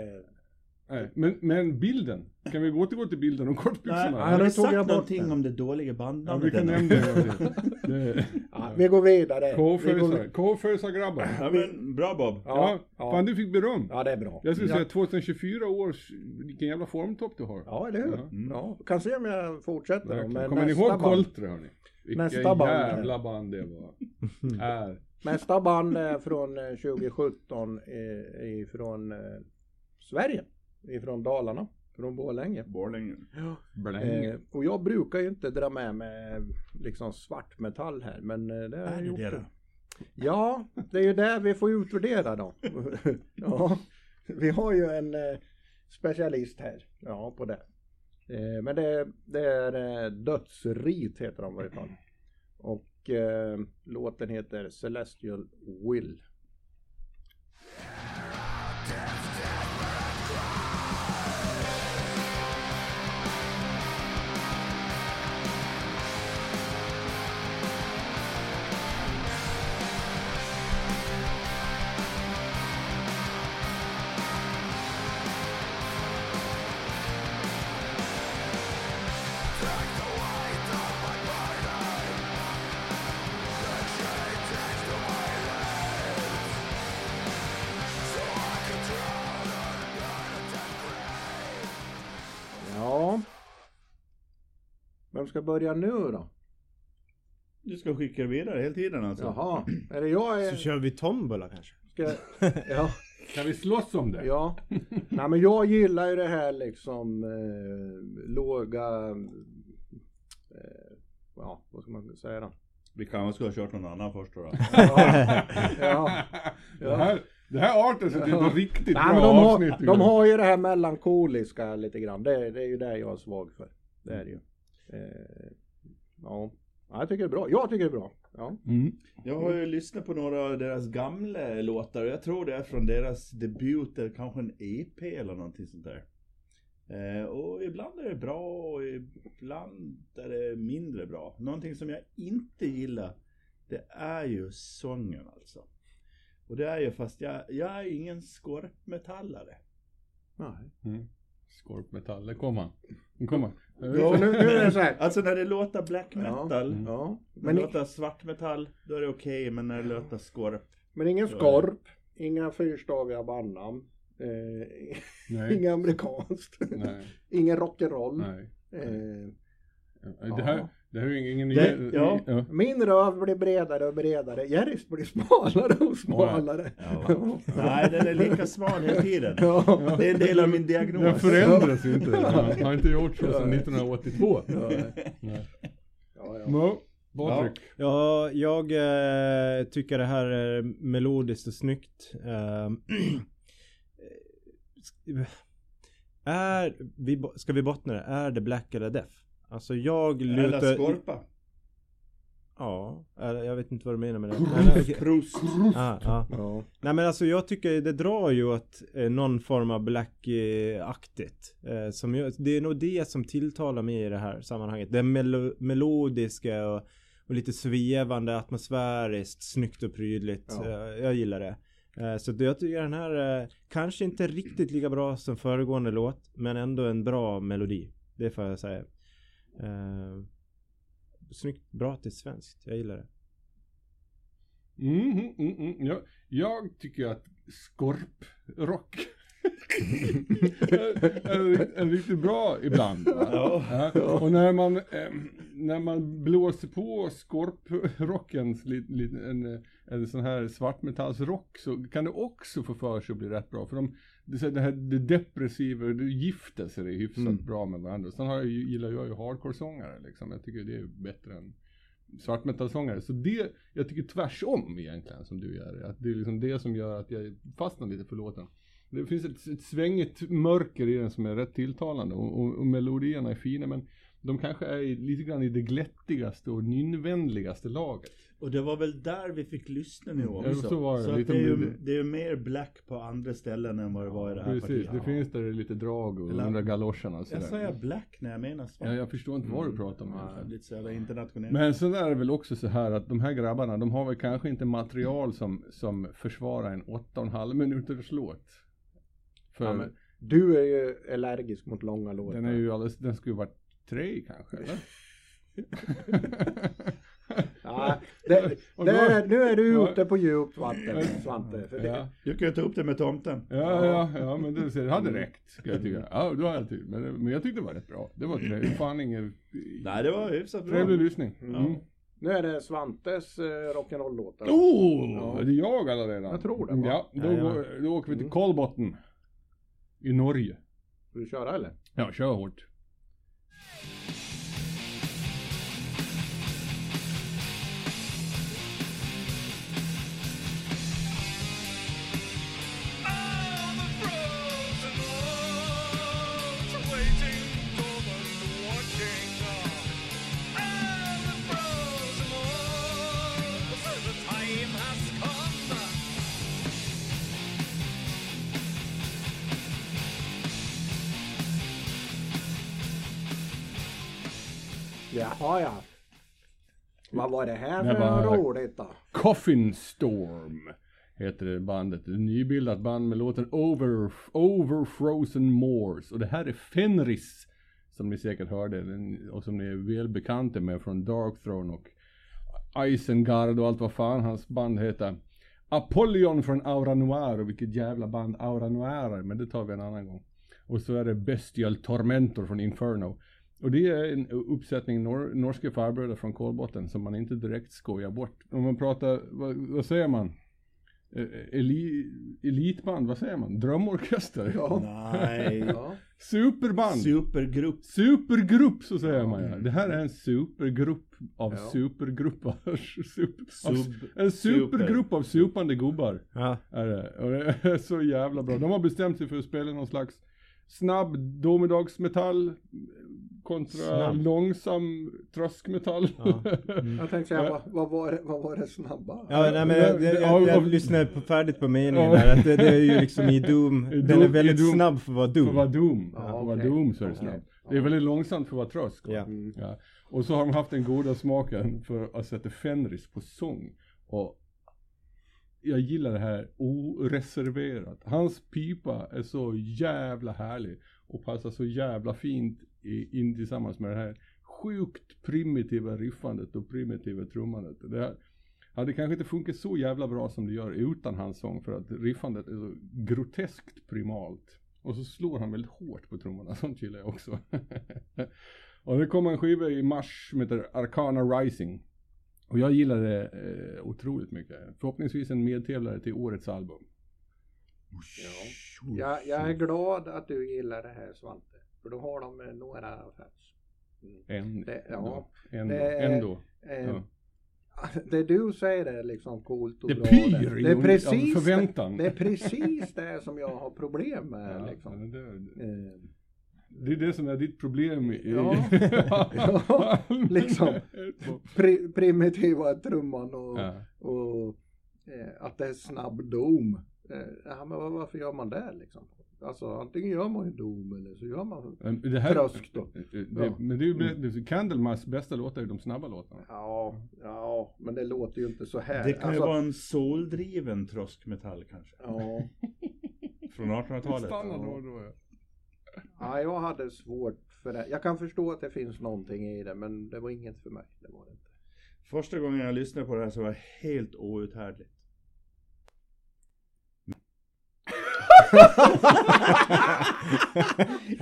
[SPEAKER 4] Nej, Men, men bilden, kan vi gå till, gå till bilden om kortbyxorna?
[SPEAKER 1] Nej.
[SPEAKER 3] har
[SPEAKER 1] nu
[SPEAKER 3] du
[SPEAKER 1] tog
[SPEAKER 3] sagt
[SPEAKER 1] jag bort
[SPEAKER 3] någonting
[SPEAKER 1] den.
[SPEAKER 3] om det dåliga
[SPEAKER 4] Ja, vi
[SPEAKER 3] bandnamnet?
[SPEAKER 4] kan
[SPEAKER 3] ännu?
[SPEAKER 4] nämna det. en gång till. Det-
[SPEAKER 1] Ja, vi går vidare. Vi går
[SPEAKER 4] K-fösa,
[SPEAKER 1] vid-
[SPEAKER 4] K-fösa grabbar.
[SPEAKER 3] Ja, men bra Bob.
[SPEAKER 4] Ja,
[SPEAKER 1] Ja, ja.
[SPEAKER 4] fan du fick beröm.
[SPEAKER 1] ja, det är bra.
[SPEAKER 4] Jag skulle
[SPEAKER 1] ja.
[SPEAKER 4] säga 2024 års, vilken jävla formtopp du har.
[SPEAKER 1] Ja, eller hur?
[SPEAKER 4] Ja.
[SPEAKER 1] Ja, kan se om jag fortsätter. då,
[SPEAKER 4] Mm. Verkligen.
[SPEAKER 1] men
[SPEAKER 4] Kommer ni
[SPEAKER 1] nästa
[SPEAKER 4] ihåg
[SPEAKER 1] band-
[SPEAKER 4] Koltre hörni? Vilken
[SPEAKER 1] Nästa band.
[SPEAKER 4] jävla band det var. Är.
[SPEAKER 1] Nästa band är från eh, 2017 eh, från eh, Sverige. Ifrån Dalarna. Från Borlänge.
[SPEAKER 3] Borlänge.
[SPEAKER 1] Eh, och jag brukar ju inte dra med mig eh, liksom svartmetall här men eh, det har jag gjort. Det
[SPEAKER 5] det då?
[SPEAKER 1] ja, det är ju det vi får utvärdera då. ja, vi har ju en eh, specialist här ja, på det. Eh, men det, det är eh, Dödsrit heter de i varje fall. Och eh, låten heter Celestial Will.
[SPEAKER 6] Death, death, red cry.
[SPEAKER 1] Vem ska börja nu då?
[SPEAKER 3] Du ska skicka det vidare hela tiden alltså?
[SPEAKER 1] Jaha, är det jag?
[SPEAKER 2] Så
[SPEAKER 1] Är,
[SPEAKER 2] kör vi tombola kanske?
[SPEAKER 1] ska, ja.
[SPEAKER 4] Kan vi slåss om det?
[SPEAKER 1] Ja, nej men jag gillar ju det här liksom eh, låga, eh, ja vad ska man säga då?
[SPEAKER 3] Vi kanske skulle ha kört någon annan först då. då.
[SPEAKER 1] Ja, ja.
[SPEAKER 4] Det här, det här arten sig till ett riktigt
[SPEAKER 1] Nej,
[SPEAKER 4] bra
[SPEAKER 1] men de,
[SPEAKER 4] avsnitt.
[SPEAKER 1] har,
[SPEAKER 4] tycker
[SPEAKER 1] de
[SPEAKER 4] jag.
[SPEAKER 1] har ju det här melankoliska lite grann, det, det är ju det jag är svag för. Det är det ju. Eh, ja. ja, jag tycker det är bra, jag tycker det är bra. Ja,
[SPEAKER 4] Mm.
[SPEAKER 3] Jag har ju lyssnat på några av deras gamla låtar och jag tror det är från deras debut eller kanske en EP eller någonting sånt där. Eh, och ibland är det bra och ibland är det mindre bra. Någonting som jag inte gillar det är ju sången alltså. Och det är ju fast jag, jag är ingen skorpmetallare.
[SPEAKER 1] nej.
[SPEAKER 4] Skorpmetall, där kom han. Där kom han.
[SPEAKER 1] Ja, nu, nu är det så här.
[SPEAKER 3] Alltså när det låter black metal,
[SPEAKER 1] Ja, ja.
[SPEAKER 3] när
[SPEAKER 1] Men,
[SPEAKER 3] det
[SPEAKER 1] i-
[SPEAKER 3] låter svartmetall, då är det okej. men när det låter skorp,
[SPEAKER 1] men ingen
[SPEAKER 3] Ja.
[SPEAKER 1] skorp, inga fyrstaviga bandnamn, eh,
[SPEAKER 4] Nej,
[SPEAKER 1] inga amerikanskt,
[SPEAKER 4] nej,
[SPEAKER 1] ingen rock'n'roll.
[SPEAKER 4] nej. Mm.
[SPEAKER 1] Eh,
[SPEAKER 4] Det här, det här är ju ingen ny...
[SPEAKER 3] Det- ja.
[SPEAKER 4] ja.
[SPEAKER 1] Min röv blir bredare och bredare. Jerrys blir smalare och smalare.
[SPEAKER 3] Ja. Nej, den är lika smal hela tiden.
[SPEAKER 1] Ja.
[SPEAKER 3] Det är en del av min
[SPEAKER 4] Den
[SPEAKER 3] diagnos.
[SPEAKER 4] förändras ju inte. Den har inte gjort så sedan 1982.
[SPEAKER 1] Ja, ja.
[SPEAKER 4] Nå, Patrik.
[SPEAKER 2] Ja, jag eh, tycker det här är melodiskt och snyggt. Eh, är vi, bo- ska vi bottna det? Är det black eller deaf? Alltså jag
[SPEAKER 3] Eller
[SPEAKER 2] lutar...
[SPEAKER 3] skorpa.
[SPEAKER 2] Ja, eller jag vet inte vad du menar med det. Nej, nej, okej.
[SPEAKER 3] Proust.
[SPEAKER 2] Ah, ah.
[SPEAKER 1] Ja.
[SPEAKER 2] Nej men alltså jag tycker det drar ju att eh, någon form av black-aktigt. Eh, som jag, det är nog det som tilltalar mig i det här sammanhanget. Det melo- melodiska och, och lite svevande, atmosfäriskt, snyggt och prydligt.
[SPEAKER 1] Ja.
[SPEAKER 2] Eh, jag gillar det. Eh, så det- jag tycker den här, eh, kanske inte riktigt lika bra som föregående låt, men ändå en bra melodi. Det får jag säga. Eh, snyggt, bra till svenskt. Jag gillar det.
[SPEAKER 4] Mm, mm, mm, mm. Jag, jag tycker att skorprock är, är, är riktigt bra ibland. va?
[SPEAKER 3] Ja.
[SPEAKER 4] Ja, Och när man, eh, när man blåser på skorprockens, li- li- en, eh, en sån här svartmetallsrock så kan det också få för sig att bli rätt bra. För de, det, är så här, det, här, det depressiva, det gifter sig det hyfsat bra med varandra. Sen har jag, ju- gillar jag ju hardcore-sångare liksom. Jag tycker det är bättre än svartmetallsångare. Så det, jag tycker tvärsom egentligen som du gör. Att det är liksom det som gör att jag fastnar lite för låten. Det finns ett, ett svängigt mörker i den som är rätt tilltalande och, och, och melodierna är fina men de kanske är i- lite grann i det glättigaste och nynnvänligaste laget.
[SPEAKER 3] Och det var väl där vi fick lyssna nu också.
[SPEAKER 4] Ja, så var det.
[SPEAKER 3] att
[SPEAKER 4] Lite
[SPEAKER 3] det, är ju,
[SPEAKER 4] mer-
[SPEAKER 3] det är ju mer black på andra ställen än vad det var i det här
[SPEAKER 4] Precis,
[SPEAKER 3] partiet.
[SPEAKER 4] det finns där lite drag och
[SPEAKER 3] Eller-
[SPEAKER 4] under galoscherna och
[SPEAKER 3] Jag
[SPEAKER 4] sådär.
[SPEAKER 3] säger Mm. black när jag menar svart.
[SPEAKER 4] ja, jag förstår inte vad du pratar om.
[SPEAKER 3] Ja, Lite så jävla internationellt.
[SPEAKER 4] Men sen är det väl också så här att de här grabbarna, de har väl kanske inte material som, som försvarar en 8,5 minuters låt. För
[SPEAKER 1] Ja, men Du är ju allergisk mot långa låtar.
[SPEAKER 4] den är ju alldeles, den skulle ju varit tre kanske, eller?
[SPEAKER 1] ja, det,
[SPEAKER 4] Och
[SPEAKER 1] det
[SPEAKER 4] då-
[SPEAKER 1] är- nu är du
[SPEAKER 4] Ja.
[SPEAKER 1] ute på djupt vatten Svante. För det,
[SPEAKER 4] ja.
[SPEAKER 3] Jag kan ju ta upp det med tomten.
[SPEAKER 4] Ja, ja, ja, men det, det hade
[SPEAKER 1] Mm.
[SPEAKER 4] räckt, ska jag tycka. Ja, då hade jag tur. Men, men jag tyckte det var rätt bra. Det var trevligt. Fan ingen...
[SPEAKER 3] Nej, det var hyfsat bra.
[SPEAKER 4] Trevlig lyssning. Mm.
[SPEAKER 1] Nu är det Svantes eh, rock'n'roll-låtar.
[SPEAKER 4] Oh! Det är jag alla redan.
[SPEAKER 1] Jag tror det, va?
[SPEAKER 4] Ja, då,
[SPEAKER 2] Jajamän.
[SPEAKER 4] går, då åker vi till
[SPEAKER 1] Mm.
[SPEAKER 4] Kolbotten. I Norge.
[SPEAKER 1] Ska du köra eller?
[SPEAKER 4] Ja, kör hårt.
[SPEAKER 1] Jaha ja. Vad var det här
[SPEAKER 4] Det
[SPEAKER 1] för
[SPEAKER 4] var-
[SPEAKER 1] roligt då?
[SPEAKER 4] Coffin Storm heter det bandet. Ett nybildat band med låten Over, Over Frozen Moors. Och det här är Fenris. Som ni säkert hörde den- och som ni är väl bekanta med från Dark Throne och Isengard och allt vad fan hans band heter. Apollyon från Aura Noir och vilket jävla band Aura Noir är, men det tar vi en annan gång. Och så är det Bestial Tormentor från Inferno. Och det är en uppsättning nor norska farbröder från Kolbotten som man inte direkt skojar bort. Om man pratar, vad, vad säger man? Eh, Eli, elitband, vad säger man? Drömorkester? Ja.
[SPEAKER 3] Nej.
[SPEAKER 1] Ja.
[SPEAKER 4] Superband!
[SPEAKER 3] Supergrupp.
[SPEAKER 4] Supergrupp så säger man ja.
[SPEAKER 3] Mm.
[SPEAKER 4] Det här är en supergrupp av
[SPEAKER 1] Ja.
[SPEAKER 4] supergrupper. Super, av,
[SPEAKER 3] Sub. super.
[SPEAKER 4] en supergrupp av supande gubbar
[SPEAKER 2] Ja.
[SPEAKER 4] är det. Och det är så jävla bra. De har bestämt sig för att spela någon slags snabb domedagsmetall kontra
[SPEAKER 2] Snabb.
[SPEAKER 4] långsam tröskmetall.
[SPEAKER 2] Ja.
[SPEAKER 1] Jag tänkte säga, vad, vad, var det, vad var det snabba?
[SPEAKER 2] Ja, nej, men jag, jag, jag, jag lyssnade på färdigt på meningen där. Att det, det är ju liksom i Doom.
[SPEAKER 4] I
[SPEAKER 2] Den är
[SPEAKER 4] Doom- i
[SPEAKER 2] väldigt
[SPEAKER 4] Doom.
[SPEAKER 2] snabb för att vara
[SPEAKER 4] För att vara
[SPEAKER 2] Doom.
[SPEAKER 4] doom.
[SPEAKER 1] Ja,
[SPEAKER 4] för att vara
[SPEAKER 1] okej.
[SPEAKER 4] doom så är det
[SPEAKER 1] Okej.
[SPEAKER 4] snabbt. Det är väldigt långsamt för att vara trösk.
[SPEAKER 2] Ja.
[SPEAKER 1] Mm.
[SPEAKER 4] Ja. Och så har de haft den goda smaken för att sätta Fenris på sång. Och jag gillar det här oreserverat. Hans pipa är så jävla härlig och passar så jävla fint i, in tillsammans med det här sjukt primitiva riffandet och primitiva trummandet. Det här hade kanske inte funkat så jävla bra som det gör utan hans sång för att riffandet är så groteskt primalt. Och så slår han väldigt hårt på trummorna, sånt gillar jag också. och det kommer en skiva i mars som heter Arcana Rising. Och jag gillar det eh, otroligt mycket. Förhoppningsvis en medtävlare till årets album. Mm.
[SPEAKER 1] Jag, jag är glad att du gillar det här Svante. För då har de eh, några fans.
[SPEAKER 4] En,
[SPEAKER 1] Det, ja,
[SPEAKER 4] då. en, då.
[SPEAKER 1] det-
[SPEAKER 4] en då.
[SPEAKER 1] eh,
[SPEAKER 4] Ja.
[SPEAKER 1] Det du säger är liksom coolt och
[SPEAKER 4] Det
[SPEAKER 1] bra.
[SPEAKER 4] pyr i
[SPEAKER 1] det är
[SPEAKER 4] un-
[SPEAKER 1] precis,
[SPEAKER 4] av förväntan.
[SPEAKER 1] Det är precis det som jag har problem med.
[SPEAKER 4] Ja,
[SPEAKER 1] Liksom.
[SPEAKER 4] men det,
[SPEAKER 1] Eh,
[SPEAKER 4] det är det som är ditt problem. I,
[SPEAKER 1] Ja. Ja, liksom. pri, primitiva trumman och,
[SPEAKER 4] Ja.
[SPEAKER 1] och eh, att det är snabb dom. Eh, ja, men var- varför gör man det liksom? Alltså antingen gör man ju dom eller så gör man
[SPEAKER 4] Det här,
[SPEAKER 1] trösk då.
[SPEAKER 4] det,
[SPEAKER 1] Ja.
[SPEAKER 4] Men det är ju bä- det- Candlemas bästa låtar är de snabba låtarna.
[SPEAKER 1] Ja, ja, men det låter ju inte så här.
[SPEAKER 3] Det kan
[SPEAKER 1] Alltså,
[SPEAKER 3] ju vara en soldriven tröskmetall kanske.
[SPEAKER 1] ja.
[SPEAKER 3] Från 1800-talet.
[SPEAKER 4] Stanna då och då. ja.
[SPEAKER 1] ja, jag hade svårt för det. Jag kan förstå att det finns någonting i det, men det var inget för mig. Det var det inte.
[SPEAKER 3] Första gången jag lyssnade på det här så var det helt outhärdligt.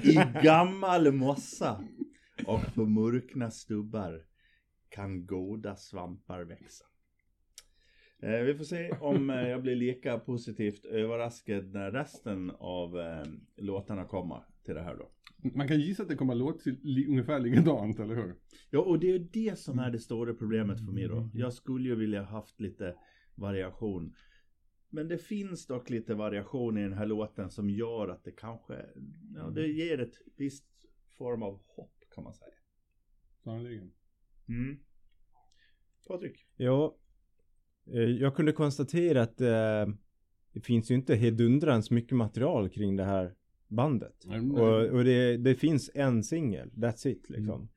[SPEAKER 3] I gammal mossa och på murkna stubbar kan goda svampar växa. Eh, vi får se om eh, jag blir lika positivt överraskad när resten av eh, låtarna kommer till det här då.
[SPEAKER 4] Man kan gissa att det kommer att låta li, ungefär likadant, eller hur?
[SPEAKER 3] Ja, och det är ju det som
[SPEAKER 1] Mm.
[SPEAKER 3] är det stora problemet för mig då. Jag skulle ju vilja haft lite variation. Men det finns dock lite variation i den här låten som gör att det kanske,
[SPEAKER 1] Mm.
[SPEAKER 3] ja, det ger ett visst form av hopp kan man säga.
[SPEAKER 4] Sannoliken.
[SPEAKER 3] Mm. Patrik?
[SPEAKER 2] Ja, eh, jag kunde konstatera att eh, det finns ju inte hedundrans mycket material kring det här bandet.
[SPEAKER 4] Nej, men-
[SPEAKER 2] Och, och det, det finns en singel, that's it liksom.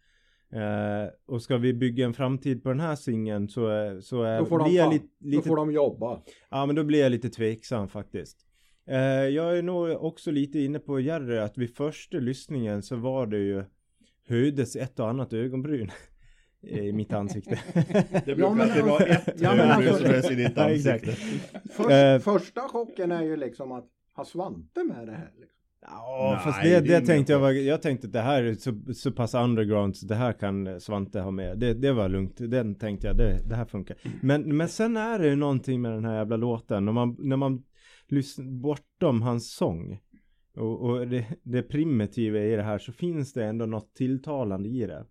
[SPEAKER 2] Eh, och ska vi bygga en framtid på den här singeln så, är- så är,
[SPEAKER 1] Då får, de
[SPEAKER 2] blir jag
[SPEAKER 1] fan,
[SPEAKER 2] lite,
[SPEAKER 1] då
[SPEAKER 2] lite
[SPEAKER 1] får de jobba.
[SPEAKER 2] Ja men då blir jag lite tveksam faktiskt. Eh, jag är nog också lite inne på Jerry att vid första lyssningen så var det ju höjdes ett och annat ögonbryn i mitt ansikte.
[SPEAKER 3] Det
[SPEAKER 1] brukar men alltid alltså- vara
[SPEAKER 3] ett
[SPEAKER 1] Ja, men ögonbryn alltså- som
[SPEAKER 3] i ditt
[SPEAKER 2] Ja, exakt.
[SPEAKER 1] Först,
[SPEAKER 2] Eh.
[SPEAKER 1] Första chocken är ju liksom att ha Svante med det här. Liksom.
[SPEAKER 2] Ja
[SPEAKER 3] Nej,
[SPEAKER 2] fast
[SPEAKER 3] det
[SPEAKER 2] det,
[SPEAKER 3] är
[SPEAKER 2] det,
[SPEAKER 3] ingen
[SPEAKER 2] tänkte jag
[SPEAKER 3] chock.
[SPEAKER 2] var, jag tänkte att det här är så, så pass underground så det här kan Svante ha med. Det, det var lugnt, den tänkte jag, det, det här funkar. Men, men sen är det ju någonting med den här jävla låten, när man, när man lyssnar bortom hans sång och, och det, det primitiva i det här så finns det ändå något tilltalande i det.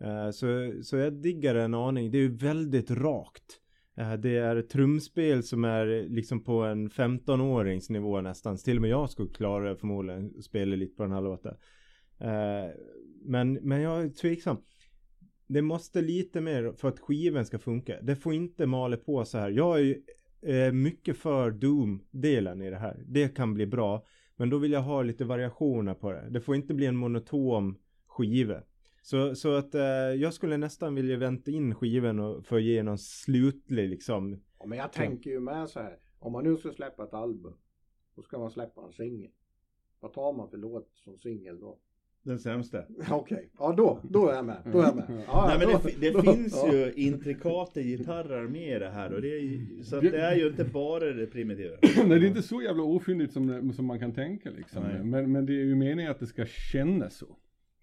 [SPEAKER 2] Eh, så, så jag diggar det en aning, det är ju väldigt rakt. Eh, Det är trumspel som är liksom på en 15-årings nivå nästan. Så Till och med jag skulle klara förmodligen att spela lite på den här låten. Eh, Men, men jag är tveksam. Det måste lite mer för att skivan ska funka. Det får inte mala på så här. Jag är ju eh, mycket för Doom-delen i det här. Det kan bli bra. Men då vill jag ha lite variationer på det. Det får inte bli en monotom skiva. Så, så att eh, jag skulle nästan vilja vänta in skivan och, för att ge någon slutlig liksom.
[SPEAKER 1] Ja, Men jag tänker ju med så här. Om man nu ska släppa ett album. Då ska man släppa en singel. Vad tar man för låt som singel då?
[SPEAKER 3] Den sämsta.
[SPEAKER 1] Okej, ja då, då är jag med. Då är jag med. Ja,
[SPEAKER 3] Mm. Nej men
[SPEAKER 1] då,
[SPEAKER 3] det, fi- det
[SPEAKER 1] då-
[SPEAKER 3] finns
[SPEAKER 1] ja.
[SPEAKER 3] ju intrikata gitarrer med i det här och det är ju, så att det är ju inte bara det primitiva.
[SPEAKER 4] Nej, det är inte så jävla ofyndigt som, som man kan tänka liksom.
[SPEAKER 3] Nej.
[SPEAKER 4] Men, men det är ju meningen att det ska kännas så.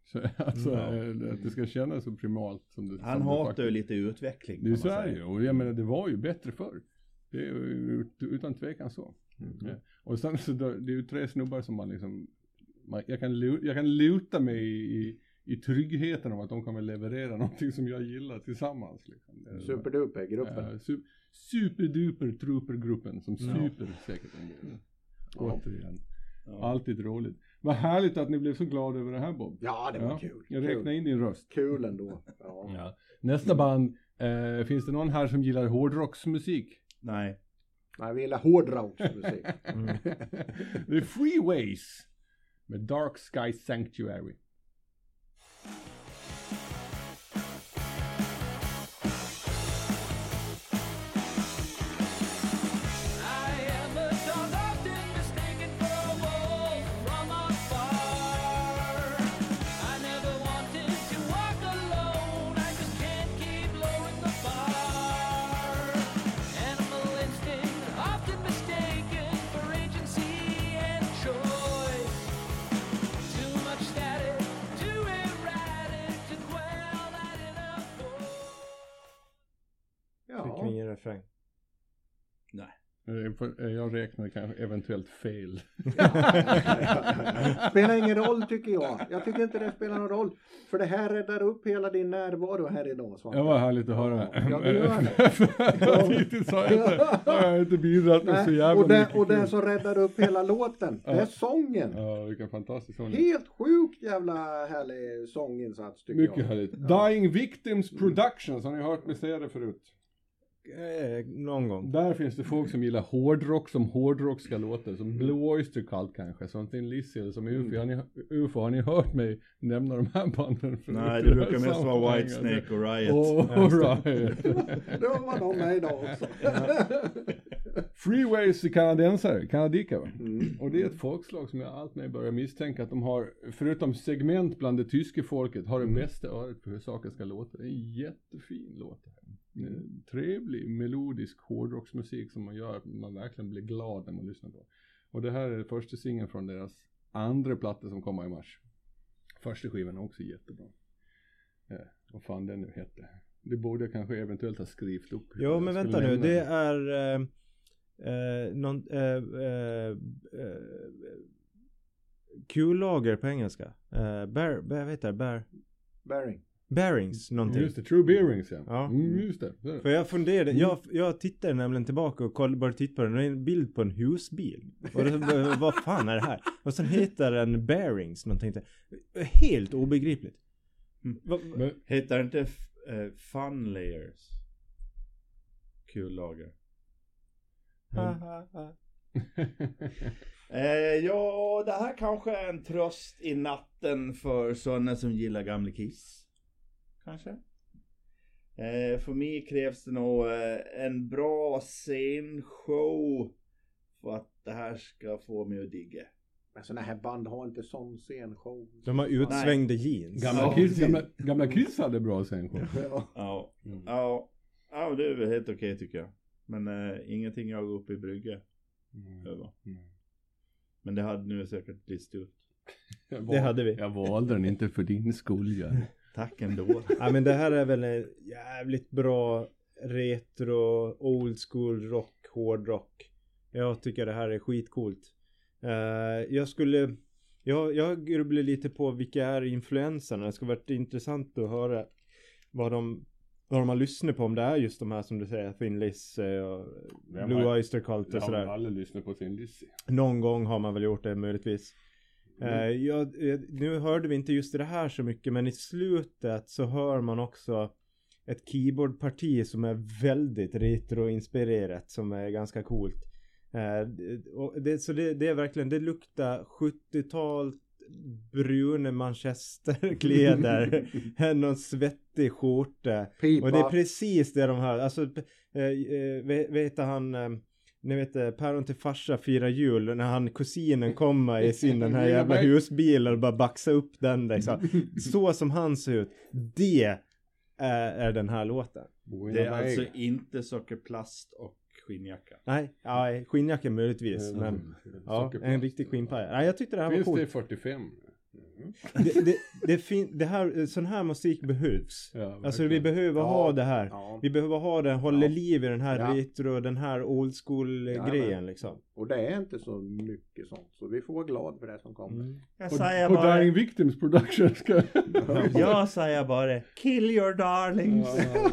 [SPEAKER 4] Så, alltså,
[SPEAKER 2] Ja.
[SPEAKER 4] eh, Att det ska kännas så primalt som det
[SPEAKER 3] Han
[SPEAKER 4] som det
[SPEAKER 3] hatar ju
[SPEAKER 4] faktiskt-
[SPEAKER 3] lite utveckling.
[SPEAKER 4] Det är
[SPEAKER 3] kan
[SPEAKER 4] så
[SPEAKER 3] man Mm.
[SPEAKER 4] är det
[SPEAKER 3] säga.
[SPEAKER 4] ju. Och jag menar, det var ju bättre förr. Det är ju ut- utan tvekan så.
[SPEAKER 3] Mm.
[SPEAKER 4] Ja. Och sen så, då, det är ju tre snubbar som man liksom, man, jag, kan, lu- jag kan luta mig i, i, i tryggheten om att de kommer leverera någonting som jag gillar tillsammans. Liksom. Det är-
[SPEAKER 1] Superduper-gruppen.
[SPEAKER 4] Ja, Eh, su- superduper trupergruppen som
[SPEAKER 2] Ja.
[SPEAKER 4] super säkert en del. Återigen,
[SPEAKER 3] Ja.
[SPEAKER 4] alltid roligt. Vad härligt att ni blev så glada över det här Bob.
[SPEAKER 1] Ja, det var
[SPEAKER 4] Ja,
[SPEAKER 1] kul.
[SPEAKER 4] Jag
[SPEAKER 1] kul.
[SPEAKER 4] räknar in din röst.
[SPEAKER 1] kul ändå. Ja.
[SPEAKER 4] Ja. Nästa band, eh, finns det någon här som gillar hårdrocksmusik?
[SPEAKER 3] Nej.
[SPEAKER 1] Nej, vi gillar hårdrocksmusik.
[SPEAKER 2] Mm.
[SPEAKER 4] The Freeways med Dark Sky Sanctuary.
[SPEAKER 6] I am the dog often mistaken for a wolf from afar. I never wanted to walk alone. I just can't keep lowering the bar. Animal instinct often mistaken for agency and choice. Too much static, too erratic to dwell at enough
[SPEAKER 2] Fick
[SPEAKER 1] Ja.
[SPEAKER 2] vi ingen refräng.
[SPEAKER 4] Eh, för- eh, Jag räknar kanske eventuellt fel.
[SPEAKER 1] Spelar ingen roll tycker jag. Jag tycker inte det spelar någon roll. För det här räddar upp hela din närvaro här idag Svante.
[SPEAKER 4] Det var härligt att höra.
[SPEAKER 1] Ja, det gör det.
[SPEAKER 4] Hittills har jag inte, har jag inte bidragit med så
[SPEAKER 1] Nej,
[SPEAKER 4] jävla
[SPEAKER 1] och, den,
[SPEAKER 4] mycket
[SPEAKER 1] och den
[SPEAKER 4] kul.
[SPEAKER 1] som räddar upp hela låten, det är sången.
[SPEAKER 4] Ja, vilken fantastisk sång.
[SPEAKER 1] Helt sjukt jävla härlig sånginsats tycker
[SPEAKER 4] Mycket
[SPEAKER 1] jag.
[SPEAKER 4] härligt. Dying Victims Productions, har ni hört mig säga det förut?
[SPEAKER 2] Eh, någon gång.
[SPEAKER 4] Där finns det folk som gillar hårdrock som hårdrock ska låta,
[SPEAKER 3] Mm.
[SPEAKER 4] som Blue Oyster Cult kanske, som Thin Lizzy eller som UFO. Har ni, UFO. Har ni hört mig nämna de här banden? förut
[SPEAKER 3] Nej,
[SPEAKER 4] i
[SPEAKER 3] det
[SPEAKER 4] här
[SPEAKER 3] brukar mest vara
[SPEAKER 4] sammanhanget?
[SPEAKER 3] Whitesnake och Riot.
[SPEAKER 4] Åh, right.
[SPEAKER 1] Det var någon med idag också.
[SPEAKER 4] Freeways är kanadensare, kanadiker va?
[SPEAKER 1] Mm.
[SPEAKER 4] Och det är ett folkslag som jag alltmer börjar misstänka att de har, förutom segment bland det tyska folket, har det
[SPEAKER 2] Mm.
[SPEAKER 4] bästa örat för hur saker ska låta. Det är en jättefin låt. det här. Eh, Trevlig, melodisk hårdrocksmusik som man gör, man verkligen blir glad när man lyssnar på. Och det här är första singeln från deras andra platta som kommer i mars. Första skivan är också jättebra. Eh, vad fan den nu hette. Det borde jag kanske eventuellt ha skrivit upp.
[SPEAKER 2] Jo men
[SPEAKER 4] Jag
[SPEAKER 2] vänta nu,
[SPEAKER 4] skulle nämna
[SPEAKER 2] det
[SPEAKER 4] den.
[SPEAKER 2] är eh, eh, någon, eh, eh, eh, Q-lager på engelska. Eh, bear, bear, vad heter det? Bear,
[SPEAKER 1] Bearing.
[SPEAKER 2] bearings någonting.
[SPEAKER 4] Just det, True Bearings ja.
[SPEAKER 2] Ja.
[SPEAKER 4] Mm, just det. Så är det.
[SPEAKER 2] För jag funderade, jag, jag tittade nämligen tillbaka och kollade, började titta på den. Det är en bild på en husbil. Och då, bara, vad fan är det här? Och sen heter den Bearings någonting. Helt obegripligt. Va- va-
[SPEAKER 4] Men,
[SPEAKER 3] Heter inte f- eh, Fun Layers? Kul lager. Hm. Eh, ja, det här kanske är en tröst i natten för sådana som gillar gamla Kiss. Kanske. Eh, för mig krävs det nog eh, en bra scenshow för att det här ska få mig att digga.
[SPEAKER 1] Men sådana här band har inte sån scenshow.
[SPEAKER 2] De har utsvängda jeans.
[SPEAKER 4] gamla,
[SPEAKER 3] Ja,
[SPEAKER 4] kiss,
[SPEAKER 3] precis.
[SPEAKER 4] gamla, gamla Kiss hade bra scenshow.
[SPEAKER 1] Ja.
[SPEAKER 3] Ja, ja, ja det är väl helt okej tycker jag. Men eh, ingenting jag går upp i brygga över. Men det hade nu säkert listat ut.
[SPEAKER 4] Jag
[SPEAKER 2] Det
[SPEAKER 4] val-
[SPEAKER 2] hade vi.
[SPEAKER 4] Jag valde den inte för din skull ja.
[SPEAKER 3] Tack ändå.
[SPEAKER 2] Ja men det här är väl en jävligt bra retro, old school rock, hårdrock. Jag tycker det här är skitcoolt. Eh, jag skulle, jag, jag grubblar lite på vilka är influenserna. Det skulle varit intressant att höra vad de, vad de har lyssnat på. Om det är just de här som du säger, Finlis, och
[SPEAKER 4] Vem
[SPEAKER 2] Blue
[SPEAKER 4] har-
[SPEAKER 2] Oyster Cult och
[SPEAKER 4] Jag har
[SPEAKER 2] sådär.
[SPEAKER 4] aldrig lyssnat på sin Lizzy.
[SPEAKER 2] Någon gång har man väl gjort det möjligtvis. Eh, jag, eh, nu hörde vi inte just det här så mycket men i slutet så hör man också ett keyboardparti som är väldigt retroinspirerat som är ganska coolt. Eh, d- och det, så det, det är verkligen, det luktar 70-tal bruna manchesterkläder. Någon svettig skjorta.
[SPEAKER 1] Pipa.
[SPEAKER 2] Och det är precis det de hör. Alltså, eh, eh, vet, vet han, eh, ni vet eh, päron till farsa firar jul när han kusinen kommer i sin den här jävla husbilen och bara baxar upp den liksom. Så som han ser ut. Det är, är den här låten.
[SPEAKER 3] Det är alltså inte sockerplast och skinnjacka.
[SPEAKER 2] Nej, ja, skinnjacka möjligtvis.
[SPEAKER 4] Eh,
[SPEAKER 2] Men, ja, en riktig skinnpaj. Nej, jag tyckte det här var
[SPEAKER 4] Finns det i
[SPEAKER 2] coolt.
[SPEAKER 4] 45?
[SPEAKER 2] Det, det, det, fin- det här, sån här musik behövs.
[SPEAKER 4] Ja,
[SPEAKER 2] alltså vi
[SPEAKER 4] verkligen.
[SPEAKER 2] behöver
[SPEAKER 1] Ja,
[SPEAKER 2] ha det här.
[SPEAKER 1] ja.
[SPEAKER 2] Vi behöver ha det, håller liv i den här
[SPEAKER 1] Ja.
[SPEAKER 2] retro, den här old school eh,
[SPEAKER 1] Ja,
[SPEAKER 2] grejen liksom.
[SPEAKER 1] Och det är inte så mycket sånt. Så vi får vara glada för det som kommer.
[SPEAKER 4] Mm.
[SPEAKER 3] Jag
[SPEAKER 4] Och,
[SPEAKER 3] säger
[SPEAKER 4] och
[SPEAKER 3] bara,
[SPEAKER 4] Dying Victims Production ska...
[SPEAKER 3] jag säger bara, kill your darlings.
[SPEAKER 4] ja,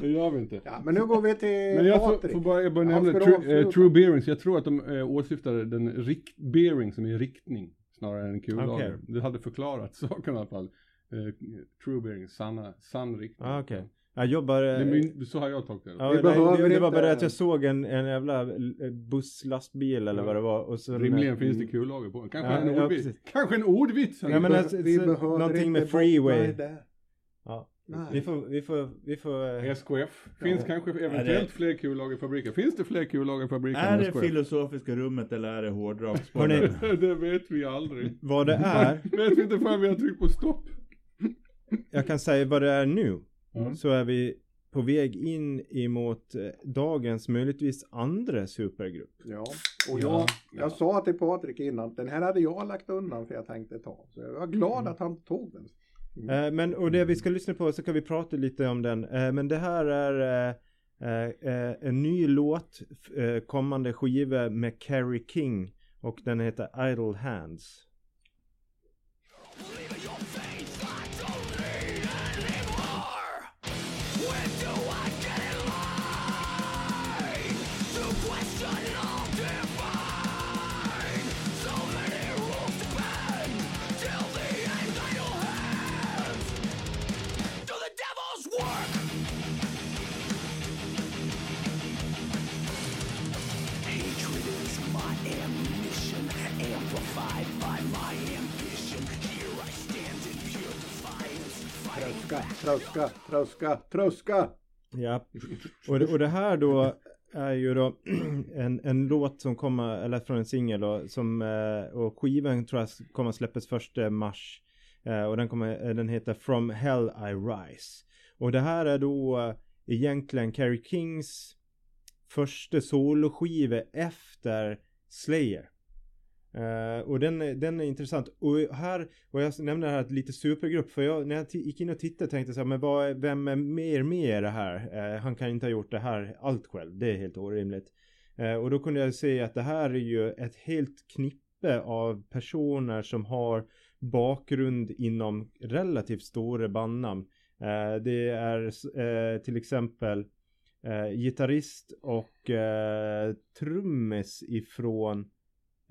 [SPEAKER 4] det gör vi inte.
[SPEAKER 1] Ja, men nu går vi till
[SPEAKER 4] Men jag får,
[SPEAKER 1] Patrik.
[SPEAKER 4] får bara, jag bara
[SPEAKER 1] Ja,
[SPEAKER 4] nämna
[SPEAKER 1] ska du
[SPEAKER 4] true,
[SPEAKER 1] avsluta?
[SPEAKER 4] eh, true bearings. Jag tror att de eh, åsyftade den rikt, bearing som är riktning snarare än kullager.
[SPEAKER 2] Okej.
[SPEAKER 4] Det hade förklarat saken i alla fall. Eh, true bearings, sanna, sann riktning.
[SPEAKER 2] Ah, Okej. Jag jobbar...
[SPEAKER 4] Det är min, så har jag tolkat det.
[SPEAKER 2] Ja,
[SPEAKER 1] Vi
[SPEAKER 2] nej,
[SPEAKER 1] behöver
[SPEAKER 2] det, det var
[SPEAKER 1] inte-
[SPEAKER 2] bara det att jag såg en, en jävla eh, buss, lastbil eller
[SPEAKER 4] Ja.
[SPEAKER 2] vad det var. Och så
[SPEAKER 4] Rimligen finns det kullager på den. Kanske,
[SPEAKER 2] Mm. Ja,
[SPEAKER 4] en
[SPEAKER 2] ja,
[SPEAKER 4] ordvits.
[SPEAKER 2] precis.
[SPEAKER 4] Kanske en ordvits.
[SPEAKER 2] Ja, men
[SPEAKER 1] Vi
[SPEAKER 2] alltså,
[SPEAKER 1] be- vi
[SPEAKER 2] så-
[SPEAKER 1] behöver
[SPEAKER 2] någonting med
[SPEAKER 1] inte
[SPEAKER 2] freeway.
[SPEAKER 1] bottna i det.
[SPEAKER 2] Ja.
[SPEAKER 1] Nej.
[SPEAKER 2] Mm. Vi får, vi får, vi får... eh,
[SPEAKER 4] SKF. Finns kanske eventuellt
[SPEAKER 3] Ja, det-
[SPEAKER 4] fler kullagerfabriker. Finns det fler kullagerfabriker
[SPEAKER 3] Är
[SPEAKER 4] än
[SPEAKER 3] det
[SPEAKER 4] SKF?
[SPEAKER 3] filosofiska rummet eller är det hårdrockspodden?
[SPEAKER 2] Hörrni,
[SPEAKER 4] det vet vi aldrig.
[SPEAKER 2] vad det är,
[SPEAKER 4] vet vi inte förrän vi har tryckt på stopp.
[SPEAKER 2] jag kan säga vad det är nu.
[SPEAKER 1] Mm.
[SPEAKER 2] Så är vi på väg in emot eh, dagens möjligtvis andra supergrupp.
[SPEAKER 1] Ja, och jag, jag sa till Patrik innan, den här hade jag lagt undan för jag tänkte ta. Så jag var glad
[SPEAKER 2] Mm.
[SPEAKER 1] att han tog den.
[SPEAKER 2] Eh, men och det vi ska lyssna på så kan vi prata lite om den. Eh, men det här är eh, eh, eh, en ny låt, f- eh, kommande skiva med Carrie King och den heter Idle Hands.
[SPEAKER 6] Believe your faith, I don't need anymore. When do I get in line to question all divine? So many rules to bend till the end. I don't have do the devil's work. Hatred is my ammunition, amplified by my ambition. Here I stand in pure defiance, fighting
[SPEAKER 1] Tröska, tröska, tröska, tröska!
[SPEAKER 2] Ja, och det, och det här då är ju då en, en låt som kommer, eller från en singel då, som, eh, och skivan tror jag s- kommer släppas första mars. Eh, Och den, kommer, eh, den heter From Hell I Rise. Och det här är då eh, egentligen Carrie Kings första soloskiva efter Slayer. Eh, och den, är- den är intressant. Och här, och jag nämnde här att lite supergrupp. För jag, när jag ti- gick in och tittade tänkte jag så här, men vad, är- vem är mer med i det här? Eh, han kan inte ha gjort det här allt själv. Det är helt orimligt. Eh, och då kunde jag se att det här är ju ett helt knippe av personer som har bakgrund inom relativt stora bandnamn. Eh, det är eh, till exempel eh, gitarrist och eh, trummis ifrån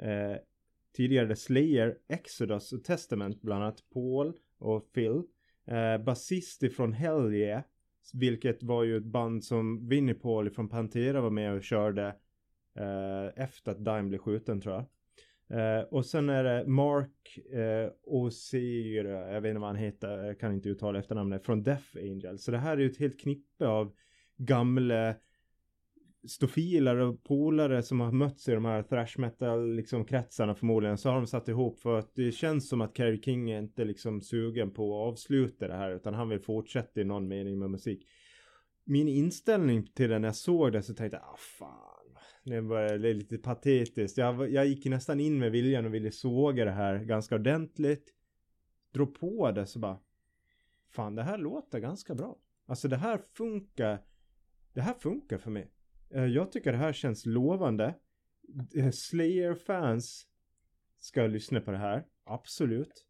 [SPEAKER 2] eh, tidigare Slayer, Exodus och Testament bland annat Paul och Phil. Eh, basist ifrån Hell yeah, vilket var ju ett band som Vinnie Paul ifrån Pantera var med och körde eh, efter att Dime blev skjuten tror jag. Eh, och sen är det Mark eh, Osira, jag vet inte vad han heter, jag kan inte uttala efternamnet, från Death Angel. Så det här är ju ett helt knippe av gamla stofiler och polare som har mötts i de här thrash metal liksom kretsarna förmodligen så har de satt ihop för att det känns som att Kerry King är inte liksom sugen på att avsluta det här utan han vill fortsätta i någon mening med musik. Min inställning till den när jag såg det så tänkte jag ah fan. Det var det är lite patetiskt. Jag, var- jag gick nästan in med viljan och ville såga det här ganska ordentligt. Drå på det så bara. Fan det här låter ganska bra. Alltså det här funkar. Det här funkar för mig. Eh, Jag tycker det här känns lovande. Eh, Slayer-fans ska lyssna på det här. Absolut.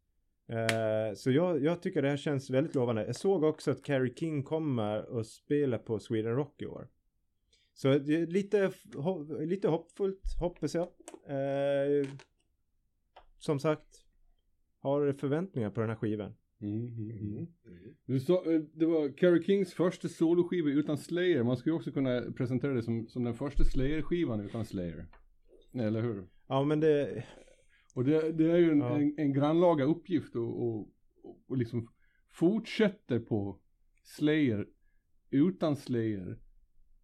[SPEAKER 2] Eh, Så jag, jag tycker det här känns väldigt lovande. Jag såg också att Carrie King kommer och spelar på Sweden Rock i år. Så det är lite, ho- lite hoppfullt hoppas jag. Eh, Som sagt, har förväntningar på den här skivan.
[SPEAKER 4] Mm,
[SPEAKER 2] Mm-hmm.
[SPEAKER 4] mm, mm. Du sa, eh, det var Carrie Kings första soloskiva utan Slayer. Man skulle ju också kunna presentera det som, som den första Slayer-skivan utan Slayer. Eller hur?
[SPEAKER 2] Ja men det,
[SPEAKER 4] Och det, det är ju en,
[SPEAKER 2] Ja.
[SPEAKER 4] en, en grannlaga uppgift och, och, och liksom fortsätter på Slayer utan Slayer.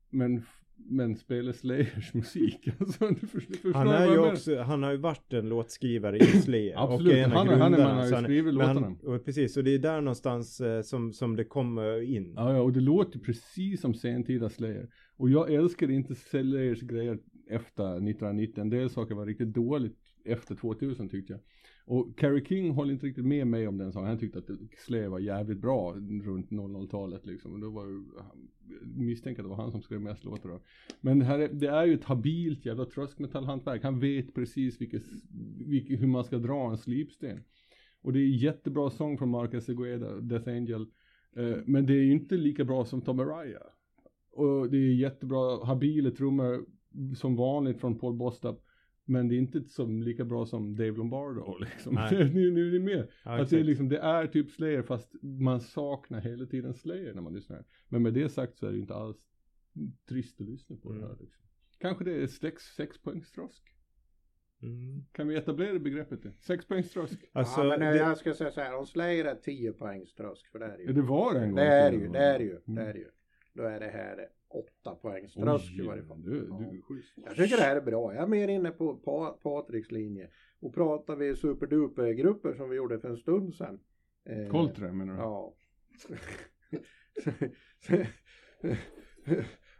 [SPEAKER 4] Men, f- men spelar Slayers musik. Alltså, du förstår, du förstår
[SPEAKER 2] han,
[SPEAKER 4] vad
[SPEAKER 2] är
[SPEAKER 4] jag
[SPEAKER 2] ju
[SPEAKER 4] menar.
[SPEAKER 2] också, han har ju varit en låtskrivare i Slayer.
[SPEAKER 4] Absolut,
[SPEAKER 2] en av
[SPEAKER 4] han är- han är- man
[SPEAKER 2] grundarna,
[SPEAKER 4] har ju
[SPEAKER 2] så han är- men
[SPEAKER 4] skrivit låtarna.
[SPEAKER 2] och Precis, och det är där någonstans eh, som, som det kommer in.
[SPEAKER 4] Ja, ja, och det låter precis som sentida Slayer. Och jag älskade inte Slayers grejer efter 1990. En del saker var riktigt dåligt efter 2000 tyckte jag. Och Carrie King håller inte riktigt med mig om den saken. Han tyckte att Slayer var jävligt bra runt 00-talet liksom. Och då var ju, han- misstänker att det var han som skrev mest låtar då. Men det, här är, det är ju ett habilt jävla tröskmetallhantverk. Han vet precis vilket, vilket, hur man ska dra en slipsten. Och det är jättebra sång från Marcus Segueda, Death Angel. Eh, men det är ju inte lika bra som Tom Araya. Och det är jättebra, habila trummor som vanligt från Paul Bostap. Men det är inte som, lika bra som Dave Lombardo liksom.
[SPEAKER 2] Nej.
[SPEAKER 4] nu, nu är ni med.
[SPEAKER 2] Ja,
[SPEAKER 4] att det, är
[SPEAKER 2] exakt.
[SPEAKER 4] liksom, det är typ Slayer fast man saknar hela tiden Slayer när man lyssnar. Men med det sagt så är det ju inte alls trist att lyssna på det här. Liksom. Kanske det är sex, sexpoängstrosk.
[SPEAKER 2] Mm.
[SPEAKER 4] Kan vi etablera begreppet det? Sexpoängstrosk.
[SPEAKER 2] Alltså,
[SPEAKER 1] ja, men eh,
[SPEAKER 2] det,
[SPEAKER 1] jag ska säga så här, om Slayer är 10 poängs trösk, för det är det
[SPEAKER 4] Ja,
[SPEAKER 1] ju.
[SPEAKER 4] det var det en gång.
[SPEAKER 1] Det är det
[SPEAKER 4] till,
[SPEAKER 1] ju,
[SPEAKER 4] va?
[SPEAKER 1] det är det ju, det
[SPEAKER 4] Mm.
[SPEAKER 1] är det ju. Då är det här 8 poängs
[SPEAKER 4] Oj,
[SPEAKER 1] trösk i varje fall.
[SPEAKER 4] Du, du
[SPEAKER 1] Ja.
[SPEAKER 4] är schysst.
[SPEAKER 1] Jag tycker det här är bra. Jag är mer inne på pa Patriks linje. Och pratar vi superduper-grupper som vi gjorde för en stund sedan. Eh,
[SPEAKER 4] Coltrane menar du?
[SPEAKER 1] Ja.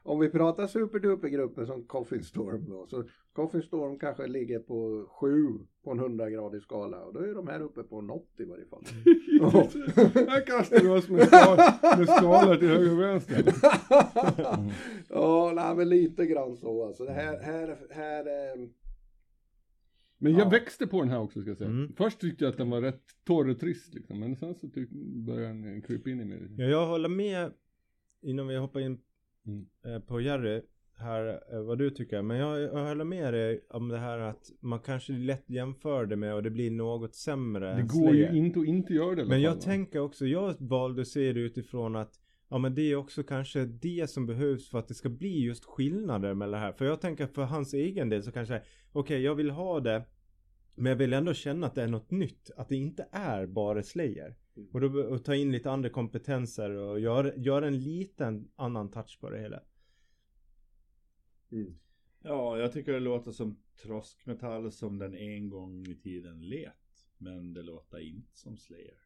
[SPEAKER 1] Om vi pratar superdupergrupper som Coffin Storm då. Så Coffin Storm kanske ligger på 7 på en 100-gradig skala. Och då är de här uppe på en 80 i varje fall. Ja.
[SPEAKER 4] Här kastar du oss med, skal, med skalor till höger och vänster.
[SPEAKER 1] Ja, nej men lite grann så alltså. Det här, här, här eh,
[SPEAKER 4] Men jag
[SPEAKER 1] Ja.
[SPEAKER 4] växte på den här också ska jag säga.
[SPEAKER 2] Mm.
[SPEAKER 4] Först tyckte jag att den var rätt torr och trist liksom. Men sen så tyck, började den eh, krypa in i mig.
[SPEAKER 2] ja, jag håller med innan vi hoppar in
[SPEAKER 4] Mm.
[SPEAKER 2] eh, på Jerry här eh, vad du tycker. Men jag, jag håller med dig om det här att man kanske lätt jämför det med och det blir något sämre.
[SPEAKER 4] Det
[SPEAKER 2] än
[SPEAKER 4] går ju
[SPEAKER 2] Slayer.
[SPEAKER 4] inte att inte göra det i alla
[SPEAKER 2] Men
[SPEAKER 4] fall,
[SPEAKER 2] jag
[SPEAKER 4] va?
[SPEAKER 2] tänker också, jag valde att se det utifrån att Ja men det är också kanske det som behövs för att det ska bli just skillnader med det här. För jag tänker för hans egen del så kanske okej jag vill ha det men jag vill ändå känna att det är något nytt. Att det inte är bara Slayer. Och, då, och ta in lite andra kompetenser och göra gör en liten annan touch på det hela.
[SPEAKER 3] Ja, jag tycker det låter som troskmetall som den en gång i tiden let. Men det låter inte som Slayer.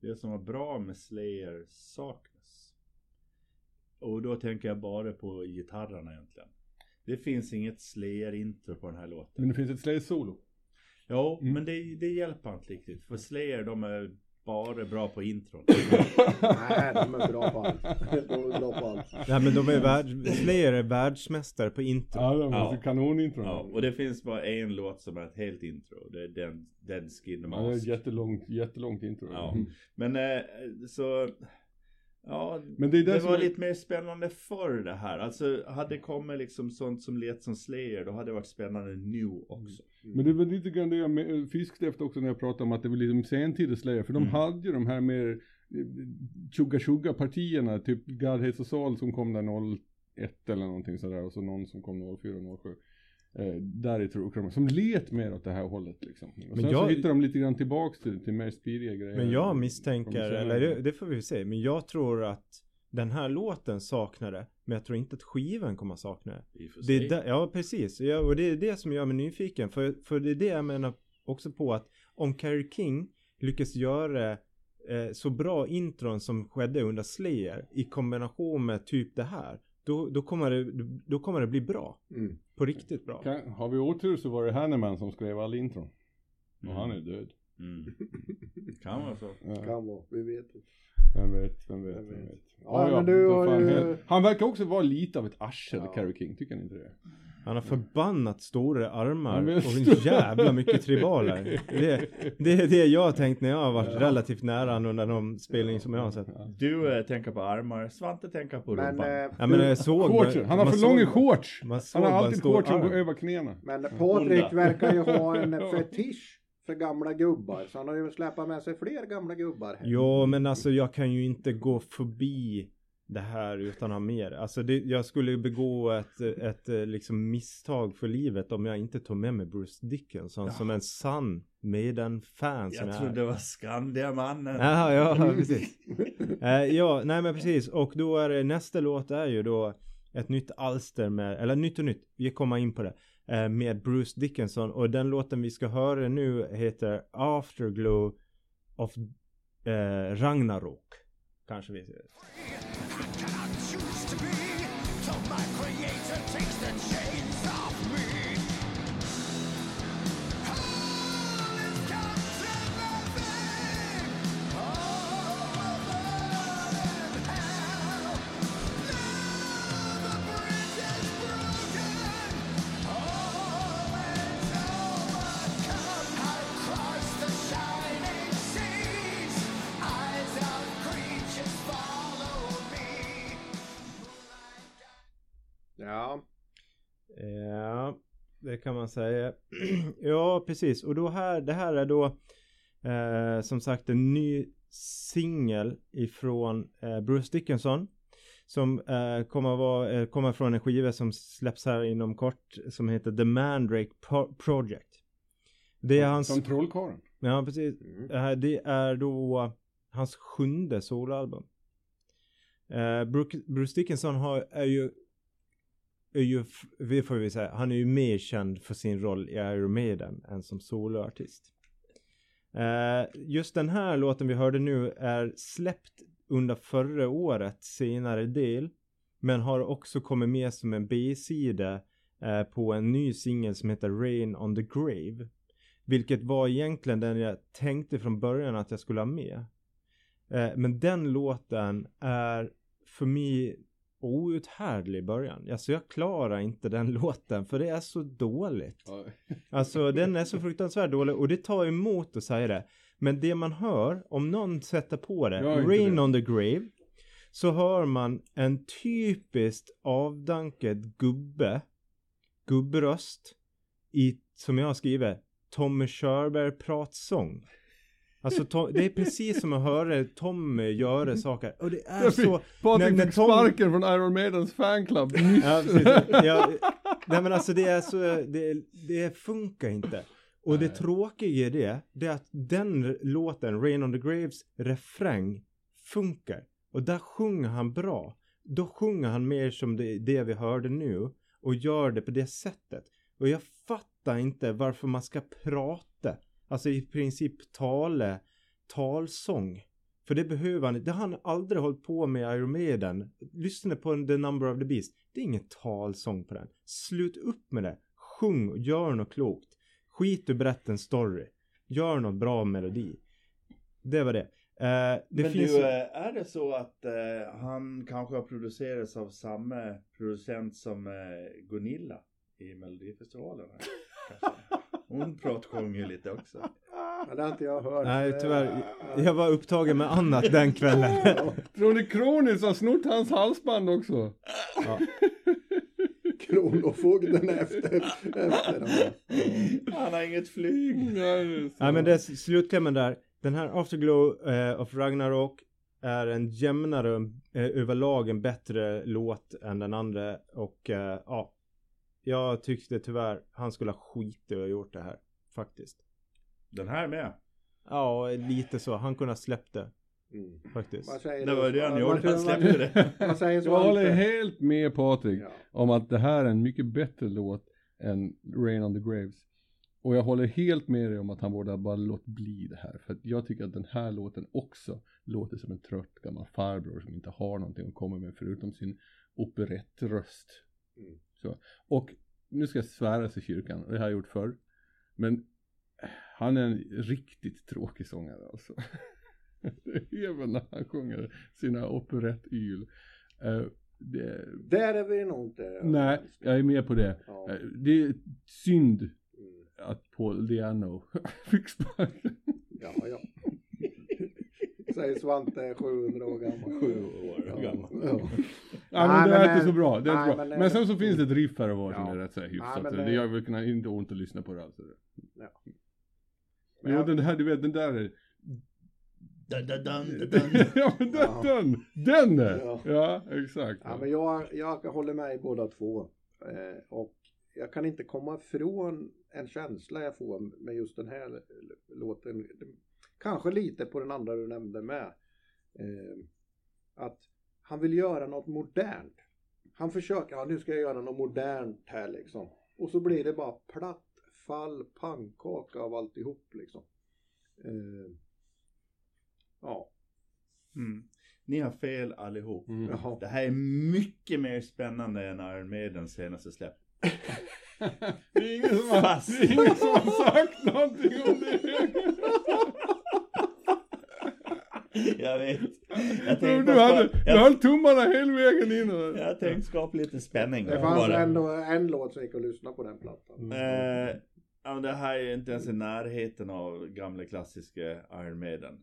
[SPEAKER 3] Det som var bra med Slayer saknas. Och då tänker jag bara på gitarrerna egentligen. Det finns inget Slayer-intro på den här låten.
[SPEAKER 4] Men det finns ett Slayer-solo.
[SPEAKER 3] Jo,
[SPEAKER 4] Mm.
[SPEAKER 3] men det, det hjälper inte riktigt. För Slayer, de är bara bra på intron.
[SPEAKER 4] Mm.
[SPEAKER 1] nej de är bra på allt. De är bra på allt.
[SPEAKER 2] Nej men de är värld, Slayer är världsmästare på intro.
[SPEAKER 4] Ja, det var
[SPEAKER 3] Ja.
[SPEAKER 4] ja. kanonintro.
[SPEAKER 3] ja,
[SPEAKER 4] Ja.
[SPEAKER 3] och det finns bara en låt som är ett helt intro. Det är den, den alltså. Skin
[SPEAKER 4] Ja, det är ett
[SPEAKER 3] Mask.
[SPEAKER 4] jättelångt, jättelångt intro.
[SPEAKER 3] Ja.
[SPEAKER 4] Mm.
[SPEAKER 3] Men eh, så... Ja,
[SPEAKER 4] Men det är det,
[SPEAKER 3] det
[SPEAKER 4] som
[SPEAKER 3] var
[SPEAKER 4] är-
[SPEAKER 3] lite mer spännande förr det här. Alltså hade
[SPEAKER 2] Mm.
[SPEAKER 3] det kommit liksom sånt som let som Slayer då hade det varit spännande nu också.
[SPEAKER 4] Men det var lite grann det jag med- fiskade efter också när jag pratade om att det var liksom sentida Slayer. För de
[SPEAKER 3] Mm.
[SPEAKER 4] hade ju de här mer tjugga tjugga partierna. Typ God Hates Us All som kom där 01 eller någonting sådär. Och så någon som kom 04 07. Eh, där i Trokrom. Som let mer åt det här hållet liksom. Och
[SPEAKER 2] Men
[SPEAKER 4] sen så
[SPEAKER 2] jag-
[SPEAKER 4] hittade de lite grann tillbaks till, till mer speediga grejer.
[SPEAKER 2] Men jag
[SPEAKER 4] Från
[SPEAKER 2] misstänker,
[SPEAKER 4] senare.
[SPEAKER 2] eller det, det får vi se, men jag tror att den här låten saknar det. Men jag tror inte att skivan kommer att sakna det.
[SPEAKER 3] Mm. I och för
[SPEAKER 2] det
[SPEAKER 3] sig.
[SPEAKER 2] är där, ja, precis. Ja, och det är det som gör mig nyfiken. För, för det är det jag menar också på att om Carrie King lyckas göra eh, så bra intron som skedde under Slayer i kombination med typ det här. Då, då, kommer, det, då kommer det bli bra.
[SPEAKER 1] Mm.
[SPEAKER 2] På riktigt bra.
[SPEAKER 4] Kan, har vi otur så var det Hanneman som skrev all intron. Och han är död.
[SPEAKER 3] Mm. Kan vara så.
[SPEAKER 4] Ja,
[SPEAKER 1] Kan vara, vi vet inte.
[SPEAKER 4] vem vet, vem vet,
[SPEAKER 1] Vem
[SPEAKER 4] vem
[SPEAKER 1] vet.
[SPEAKER 4] vet.
[SPEAKER 1] Ja, men
[SPEAKER 4] ja,
[SPEAKER 1] du
[SPEAKER 4] vad
[SPEAKER 1] har
[SPEAKER 4] fan
[SPEAKER 1] ju-
[SPEAKER 4] händer? Han verkar också vara lite av ett arsel,
[SPEAKER 1] Ja.
[SPEAKER 4] Carrie King, tycker ni inte det?
[SPEAKER 2] Han har förbannat stora armar
[SPEAKER 4] Ja, men-
[SPEAKER 2] och en jävla mycket tribaler. Det, det är det jag har tänkt när jag har varit relativt nära honom under de spelning som jag har sett.
[SPEAKER 3] Du eh, tänker på armar, Svante tänker på
[SPEAKER 1] Men,
[SPEAKER 3] rumpan.
[SPEAKER 1] eh,
[SPEAKER 2] Ja, men jag såg,
[SPEAKER 4] Shorts, han har
[SPEAKER 2] man
[SPEAKER 4] för långa
[SPEAKER 2] såg-
[SPEAKER 4] shorts!
[SPEAKER 2] man
[SPEAKER 4] Han
[SPEAKER 2] såg
[SPEAKER 4] har
[SPEAKER 2] bara en
[SPEAKER 4] alltid
[SPEAKER 2] stor
[SPEAKER 4] shorts som
[SPEAKER 2] arm.
[SPEAKER 4] går över knäna.
[SPEAKER 1] men Patrik
[SPEAKER 3] Onda.
[SPEAKER 1] verkar ju ha en fetisch för gamla gubbar. Så han har ju släpat med sig fler gamla gubbar. Här.
[SPEAKER 2] Jo men alltså jag kan ju inte gå förbi det här utan ha mer. Alltså det, jag skulle ju begå ett, ett eh, liksom misstag för livet om jag inte tog med mig Bruce Dickinson som en sann Maiden-fan som jag,
[SPEAKER 3] jag
[SPEAKER 2] är.
[SPEAKER 3] trodde det var Skandiamannen.
[SPEAKER 2] Ja, ja precis. Eh, ja, nej men precis. Och då är det, nästa låt är ju då ett nytt alster med, eller nytt och nytt, vi kommer in på det, eh, med Bruce Dickinson. Och den låten vi ska höra nu heter Afterglow of eh, Ragnarok. Kanske vi ser.
[SPEAKER 7] Takes the chains off me. All is gone.
[SPEAKER 1] Ja.
[SPEAKER 2] Ja, det kan man säga. ja, precis. Och då här, det här är då eh, som sagt en ny singel ifrån eh, Bruce Dickinson. Som eh, kommer, att vara, eh, kommer från en skiva som släpps här inom kort som heter The Mandrake Pro- Project. Det är hans...
[SPEAKER 4] Som trollkarlen.
[SPEAKER 2] Ja, precis.
[SPEAKER 1] Mm.
[SPEAKER 2] Eh, Det är då hans sjunde soloalbum. Eh, Bruce- Bruce Dickinson har, är ju, är ju, f- vi får vi säga, han är ju mer känd för sin roll i Iron Maiden än som soloartist. Eh, Just den här låten vi hörde nu är släppt under förra årets senare del. Men har också kommit med som en B-sida eh, på en ny singel som heter Rain on the Grave. Vilket var egentligen den jag tänkte från början att jag skulle ha med. Eh, men den låten är för mig outhärdlig i början. Alltså jag klarar inte den låten för det är så dåligt.
[SPEAKER 4] Ja.
[SPEAKER 2] Alltså den är så fruktansvärt dålig och det tar emot att säga det. Men det man hör, om någon sätter på det,
[SPEAKER 4] Gör inte
[SPEAKER 2] Rain
[SPEAKER 4] det.
[SPEAKER 2] on the Grave, så hör man en typiskt avdankad gubbe, gubbröst, i, som jag skriver, Tommy Körberg pratsång. Alltså Tom, det är precis som att höra Tommy göra saker. Och det är
[SPEAKER 4] Jag fick-
[SPEAKER 2] så...
[SPEAKER 4] Patrik
[SPEAKER 2] Alltså, när- när
[SPEAKER 4] fick
[SPEAKER 2] Tom-
[SPEAKER 4] sparken från Iron Maidens fanclub nyss.
[SPEAKER 2] Ja, precis. ja, nej men alltså det är så, det, det funkar inte. Och det tråkiga i det, det är att den låten, Rain on the Graves, refräng funkar. Och där sjunger han bra. Då sjunger han mer som det, det vi hörde nu och gör det på det sättet. Och jag fattar inte varför man ska prata, alltså i princip tale, talsång. För det behöver han Det har han aldrig hållit på med i Iron Maiden. Lyssna på The Number of the Beast. Det är ingen talsång på den. Slut upp med det. Sjung och gör något klokt. Skit och berätta en story. Gör något bra melodi. Det var det. Eh, det
[SPEAKER 3] Men
[SPEAKER 2] finns
[SPEAKER 3] du,
[SPEAKER 2] ju-
[SPEAKER 3] eh, är det så att eh, han kanske har producerats av samma producent som eh, Gunilla i Melodifestivalen? här, kanske? Hon pratsjöng ju lite också.
[SPEAKER 1] Ja, Det har inte jag hört.
[SPEAKER 2] Nej,
[SPEAKER 1] Eh,
[SPEAKER 2] tyvärr. Jag var upptagen med annat den kvällen.
[SPEAKER 4] Tror ni Kronis har snott hans halsband också?
[SPEAKER 1] Kronofogden efter, efter dem.
[SPEAKER 3] Han har inget flyg.
[SPEAKER 4] Ja, det är så.
[SPEAKER 2] Nej men det är s- slutklämmen där. Den här Afterglow eh, of Ragnarok är en jämnare, eh, överlag en bättre låt än den andra och eh, ja. Jag tyckte tyvärr han skulle ha skit i att ha gjort det här faktiskt.
[SPEAKER 3] Den här med.
[SPEAKER 2] Ja, lite så. Han kunde ha släppt det
[SPEAKER 1] Mm.
[SPEAKER 2] faktiskt.
[SPEAKER 1] Vad säger
[SPEAKER 3] Det
[SPEAKER 1] du?
[SPEAKER 3] var det han
[SPEAKER 1] Vad-
[SPEAKER 3] gjorde.
[SPEAKER 1] vad-
[SPEAKER 3] Han släppte det.
[SPEAKER 1] Vad säger
[SPEAKER 4] Jag håller
[SPEAKER 1] Svante?
[SPEAKER 4] helt med Patrik
[SPEAKER 1] Ja.
[SPEAKER 4] om att det här är en mycket bättre låt än Rain on the Graves. Och jag håller helt med dig om att han borde ha bara låt bli det här. För att jag tycker att den här låten också låter som en trött gammal farbror som inte har någonting att komma med förutom sin operettröst.
[SPEAKER 1] Mm.
[SPEAKER 4] Så. Och nu ska jag sväras i kyrkan och det har jag gjort förr. Men han är en riktigt tråkig sångare alltså. Även när han sjunger sina operettyl. Eh, det,
[SPEAKER 1] Där är vi nog inte.
[SPEAKER 4] Nej, jag är med på det.
[SPEAKER 1] Ja.
[SPEAKER 4] Eh, Det är synd
[SPEAKER 1] Mm.
[SPEAKER 4] att Paul Diano fick sparken.
[SPEAKER 1] Ja, ja. Säger Svante, 700 år gammal.
[SPEAKER 3] Sju år gammal.
[SPEAKER 1] Ja.
[SPEAKER 4] Nej,
[SPEAKER 1] Nej,
[SPEAKER 4] men det
[SPEAKER 1] men
[SPEAKER 4] är
[SPEAKER 1] det-
[SPEAKER 4] inte så bra. Det är
[SPEAKER 1] nej,
[SPEAKER 4] inte bra.
[SPEAKER 1] men det-
[SPEAKER 4] Men, sen så finns det ett riff här och var
[SPEAKER 1] Ja.
[SPEAKER 4] som är rätt så här hyfsat.
[SPEAKER 1] men
[SPEAKER 4] det...
[SPEAKER 1] det-
[SPEAKER 4] gör väl kunna- inte ont att lyssna på det alls.
[SPEAKER 1] Ja.
[SPEAKER 4] Men jo, den här, du vet den där är...
[SPEAKER 3] Dun, dun, dun, dun.
[SPEAKER 4] ja, men den,
[SPEAKER 1] Ja.
[SPEAKER 4] den! Den är!
[SPEAKER 1] Ja.
[SPEAKER 4] Ja, exakt.
[SPEAKER 1] Ja, men jag, jag håller med i båda två. Eh, och jag kan inte komma ifrån en känsla jag får med just den här l- låten. Kanske lite på den andra du nämnde med. Eh, att han vill göra något modernt. Han försöker, ja nu ska jag göra något modernt här liksom. Och så blir det bara platt fall pannkaka av alltihop liksom. Eh, ja,
[SPEAKER 3] Mm. Ni har fel allihop.
[SPEAKER 4] Mm.
[SPEAKER 1] jaha.
[SPEAKER 3] Det här är mycket mer spännande än Iron Maidens senaste släpp.
[SPEAKER 4] Det är ingen som har,
[SPEAKER 3] Fast.
[SPEAKER 4] det är ingen som har sagt någonting om det.
[SPEAKER 3] Jag vet. Jag
[SPEAKER 4] Du,
[SPEAKER 3] tänkte,
[SPEAKER 4] du, hade,
[SPEAKER 3] skapa-
[SPEAKER 4] du
[SPEAKER 3] jag,
[SPEAKER 4] höll tummarna hela vägen in. och-
[SPEAKER 3] jag tänkte skapa lite spänning.
[SPEAKER 1] Det fanns ändå en låt som gick att lyssna på den plattan.
[SPEAKER 4] Mm.
[SPEAKER 3] Eh, ja, men det här är inte ens i närheten av gamla klassiska Iron Maiden.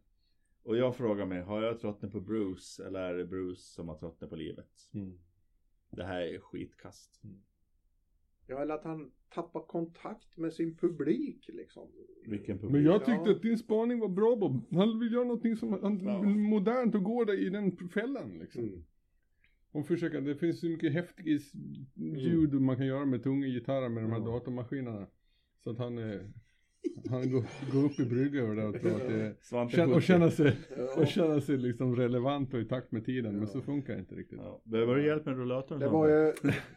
[SPEAKER 3] Och jag frågar mig, har jag tröttnat på Bruce eller är det Bruce som har tröttnat på livet? Det här är skitkast.
[SPEAKER 1] Ja, eller att han tappar kontakt med sin publik liksom.
[SPEAKER 3] Vilken publik.
[SPEAKER 4] Men jag tyckte
[SPEAKER 1] Ja.
[SPEAKER 4] att din spaning var bra Bob. Han vill göra någonting som han,
[SPEAKER 3] Ja.
[SPEAKER 4] modernt och går där i den fällan liksom.
[SPEAKER 1] Mm.
[SPEAKER 4] Och försöka, det finns så mycket häftig is- ljud man kan göra med tunga gitarrer med de här
[SPEAKER 1] Ja.
[SPEAKER 4] datormaskinerna. Så att han, eh, han går, går upp i brygga över det och tror att det
[SPEAKER 3] Svante
[SPEAKER 4] kän- och
[SPEAKER 3] Putte.
[SPEAKER 4] känna sig,
[SPEAKER 1] Ja.
[SPEAKER 4] och känna sig liksom relevant och i takt med tiden. Men så funkar det inte riktigt.
[SPEAKER 3] Ja. Behöver du hjälp med rullatorn?
[SPEAKER 1] Det
[SPEAKER 3] Svante?
[SPEAKER 1] var ju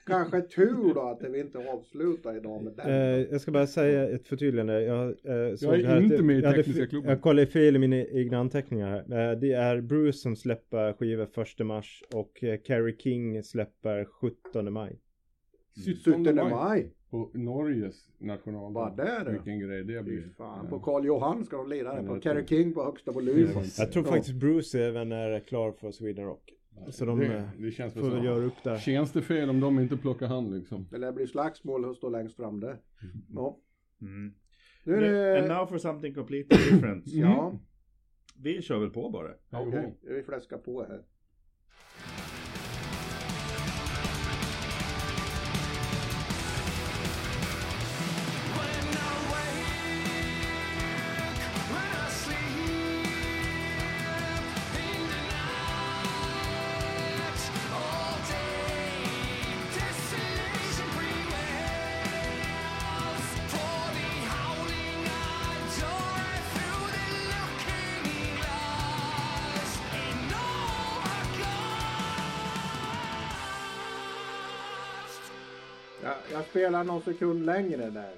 [SPEAKER 1] kanske tur då att vi inte avslutar idag med
[SPEAKER 2] Eh,
[SPEAKER 1] den.
[SPEAKER 2] jag ska bara säga ett förtydligande. Jag, eh, såg
[SPEAKER 4] är
[SPEAKER 2] här att-
[SPEAKER 4] inte med i
[SPEAKER 2] jag hade
[SPEAKER 4] tekniska
[SPEAKER 2] fe-
[SPEAKER 4] klubben.
[SPEAKER 2] Jag kollade fel i mina egna anteckningar. här. Eh, det är Bruce som släpper skiva 1 mars och eh, Carrie King släpper 17 maj.
[SPEAKER 1] 17
[SPEAKER 4] maj
[SPEAKER 1] maj.
[SPEAKER 4] På Norges nationaldag.
[SPEAKER 1] Vad där då?
[SPEAKER 4] Vilken grej det
[SPEAKER 1] Fy
[SPEAKER 4] blir.
[SPEAKER 1] fan, på Karl Johan ska de lira det.
[SPEAKER 4] Ja,
[SPEAKER 1] På
[SPEAKER 4] det
[SPEAKER 1] Kerry
[SPEAKER 4] tror
[SPEAKER 1] King på högsta volym.
[SPEAKER 4] Ja,
[SPEAKER 2] Jag tror
[SPEAKER 1] Ja.
[SPEAKER 2] faktiskt Bruce även är klar för Sweden Rock. Så de
[SPEAKER 4] det,
[SPEAKER 2] det,
[SPEAKER 4] det känns väl
[SPEAKER 2] får väl
[SPEAKER 4] så.
[SPEAKER 2] göra upp där.
[SPEAKER 4] Känns det fel om de inte plockar hand liksom?
[SPEAKER 1] Det lär bli slagsmål och stå längst fram där. Ja.
[SPEAKER 3] Mm.
[SPEAKER 1] Nu är
[SPEAKER 3] And
[SPEAKER 1] det...
[SPEAKER 3] now for something completely different.
[SPEAKER 1] Ja,
[SPEAKER 3] Vi kör väl på bara.
[SPEAKER 1] okej. Vi fläskar på här. Jag, jag spelar någon sekund längre där.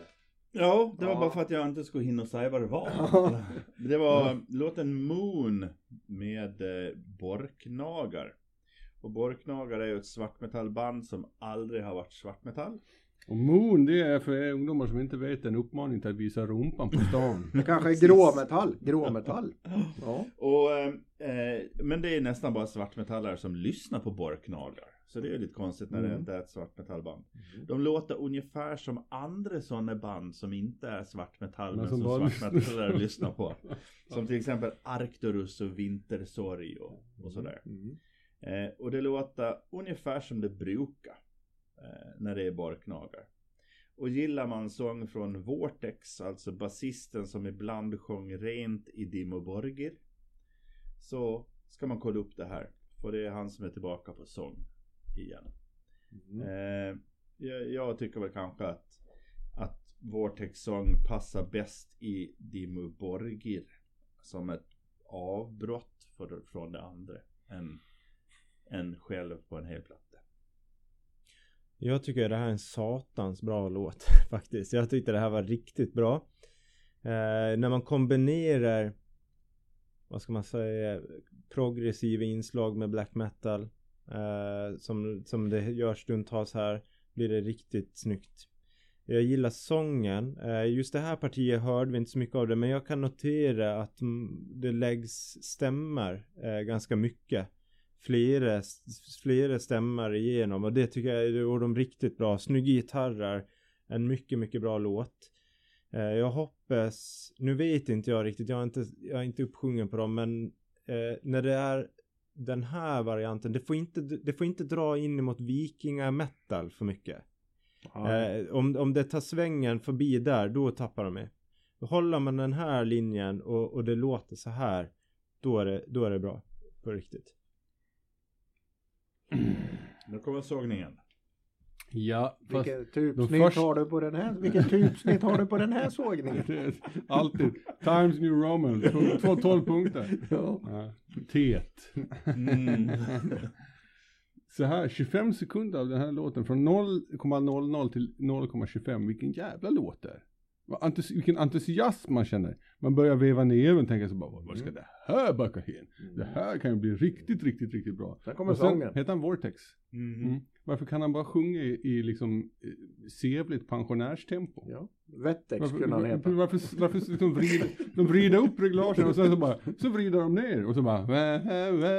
[SPEAKER 3] Ja, det var
[SPEAKER 1] Ja.
[SPEAKER 3] bara för att jag inte skulle hinna säga vad det var. Det var låten Moon med eh, Borknagar. Och Borknagar är ju ett svartmetallband som aldrig har varit svartmetall.
[SPEAKER 4] Och moon, det är för er ungdomar som inte vet en uppmaning till att visa rumpan på stan.
[SPEAKER 1] Det kanske är gråmetall. Gråmetall. Ja.
[SPEAKER 3] Och, eh, eh, men det är nästan bara svartmetallare som lyssnar på Borknagar. Så det är ju lite konstigt när det
[SPEAKER 4] Mm.
[SPEAKER 3] inte är ett svartmetallband. De låter ungefär som andra sådana band som inte är svartmetall men,
[SPEAKER 4] Men
[SPEAKER 3] som,
[SPEAKER 4] som bara
[SPEAKER 3] svartmetallare
[SPEAKER 4] lyssnar.
[SPEAKER 3] lyssnar på. Som till exempel Arcturus och Vintersorg och, och sådär.
[SPEAKER 1] Mm.
[SPEAKER 3] Eh, och det låter ungefär som det brukar eh, när det är barknagar. Och gillar man sång från Vortex, alltså basisten som ibland sjöng rent i Dimmu Borgir, så ska man kolla upp det här. För det är han som är tillbaka på sång igen. Eh, jag, jag tycker väl kanske att, att Vortex sång passar bäst i Dimmu Borgir som ett avbrott för, från det andra än, än själv på en hel platta.
[SPEAKER 2] Jag tycker det här är en satans bra låt faktiskt. Jag tyckte det här var riktigt bra. Eh, när man kombinerar vad ska man säga progressiva inslag med black metal eh, som, som det gör stundtals här blir det riktigt snyggt. Jag gillar sången. Eh, just det här partiet hörde vi inte så mycket av det men jag kan notera att mm, det läggs stämmar eh, ganska mycket flera, flera stämmar igenom och det tycker jag är och de riktigt bra. Snygga gitarrer. En mycket, mycket bra låt. Eh, jag hoppas, nu vet inte jag riktigt, jag är inte, jag är inte uppsjungen på dem men eh, när det är den här varianten, det får inte, det får inte dra in emot vikinga metal för mycket. Eh, om, om det tar svängen förbi där, då tappar de mig. Då Håller man den här linjen och, och det låter så här, då är det, då är det bra. På riktigt.
[SPEAKER 3] Mm. Nu kommer sågningen.
[SPEAKER 4] Ja, fast
[SPEAKER 1] Vilket typsnitt
[SPEAKER 4] först-
[SPEAKER 1] har du på den här? Vilket typsnitt har du på den här sågningen?
[SPEAKER 4] det är alltid Times New Roman, två- två tolv punkter.
[SPEAKER 1] Ja.
[SPEAKER 4] Ja. Tet.
[SPEAKER 3] Mm.
[SPEAKER 4] Så här, 25 sekunder av den här låten från 0,00 till 0,25. Vilken jävla låt det är. Vad entus- Vilken entusiasm man känner. Man börjar veva ner och tänka så bara, "Vad-
[SPEAKER 1] Mm.
[SPEAKER 4] vad ska det här backa hen? Det här kan ju bli riktigt, riktigt, riktigt bra.
[SPEAKER 1] Sen Mm. kommer
[SPEAKER 4] och sen
[SPEAKER 1] sången.
[SPEAKER 4] heter han Vortex.
[SPEAKER 3] Mm.
[SPEAKER 4] Mm. Varför kan han bara sjunga i, i liksom eh, sevligt pensionärstempo?
[SPEAKER 1] Ja. Vettex
[SPEAKER 4] Varför,
[SPEAKER 1] kunde han heta.
[SPEAKER 4] varför, varför, varför liksom vrider, de vrider upp reglagen och sen så bara, så vrider de ner och så bara, vä, vä, vä.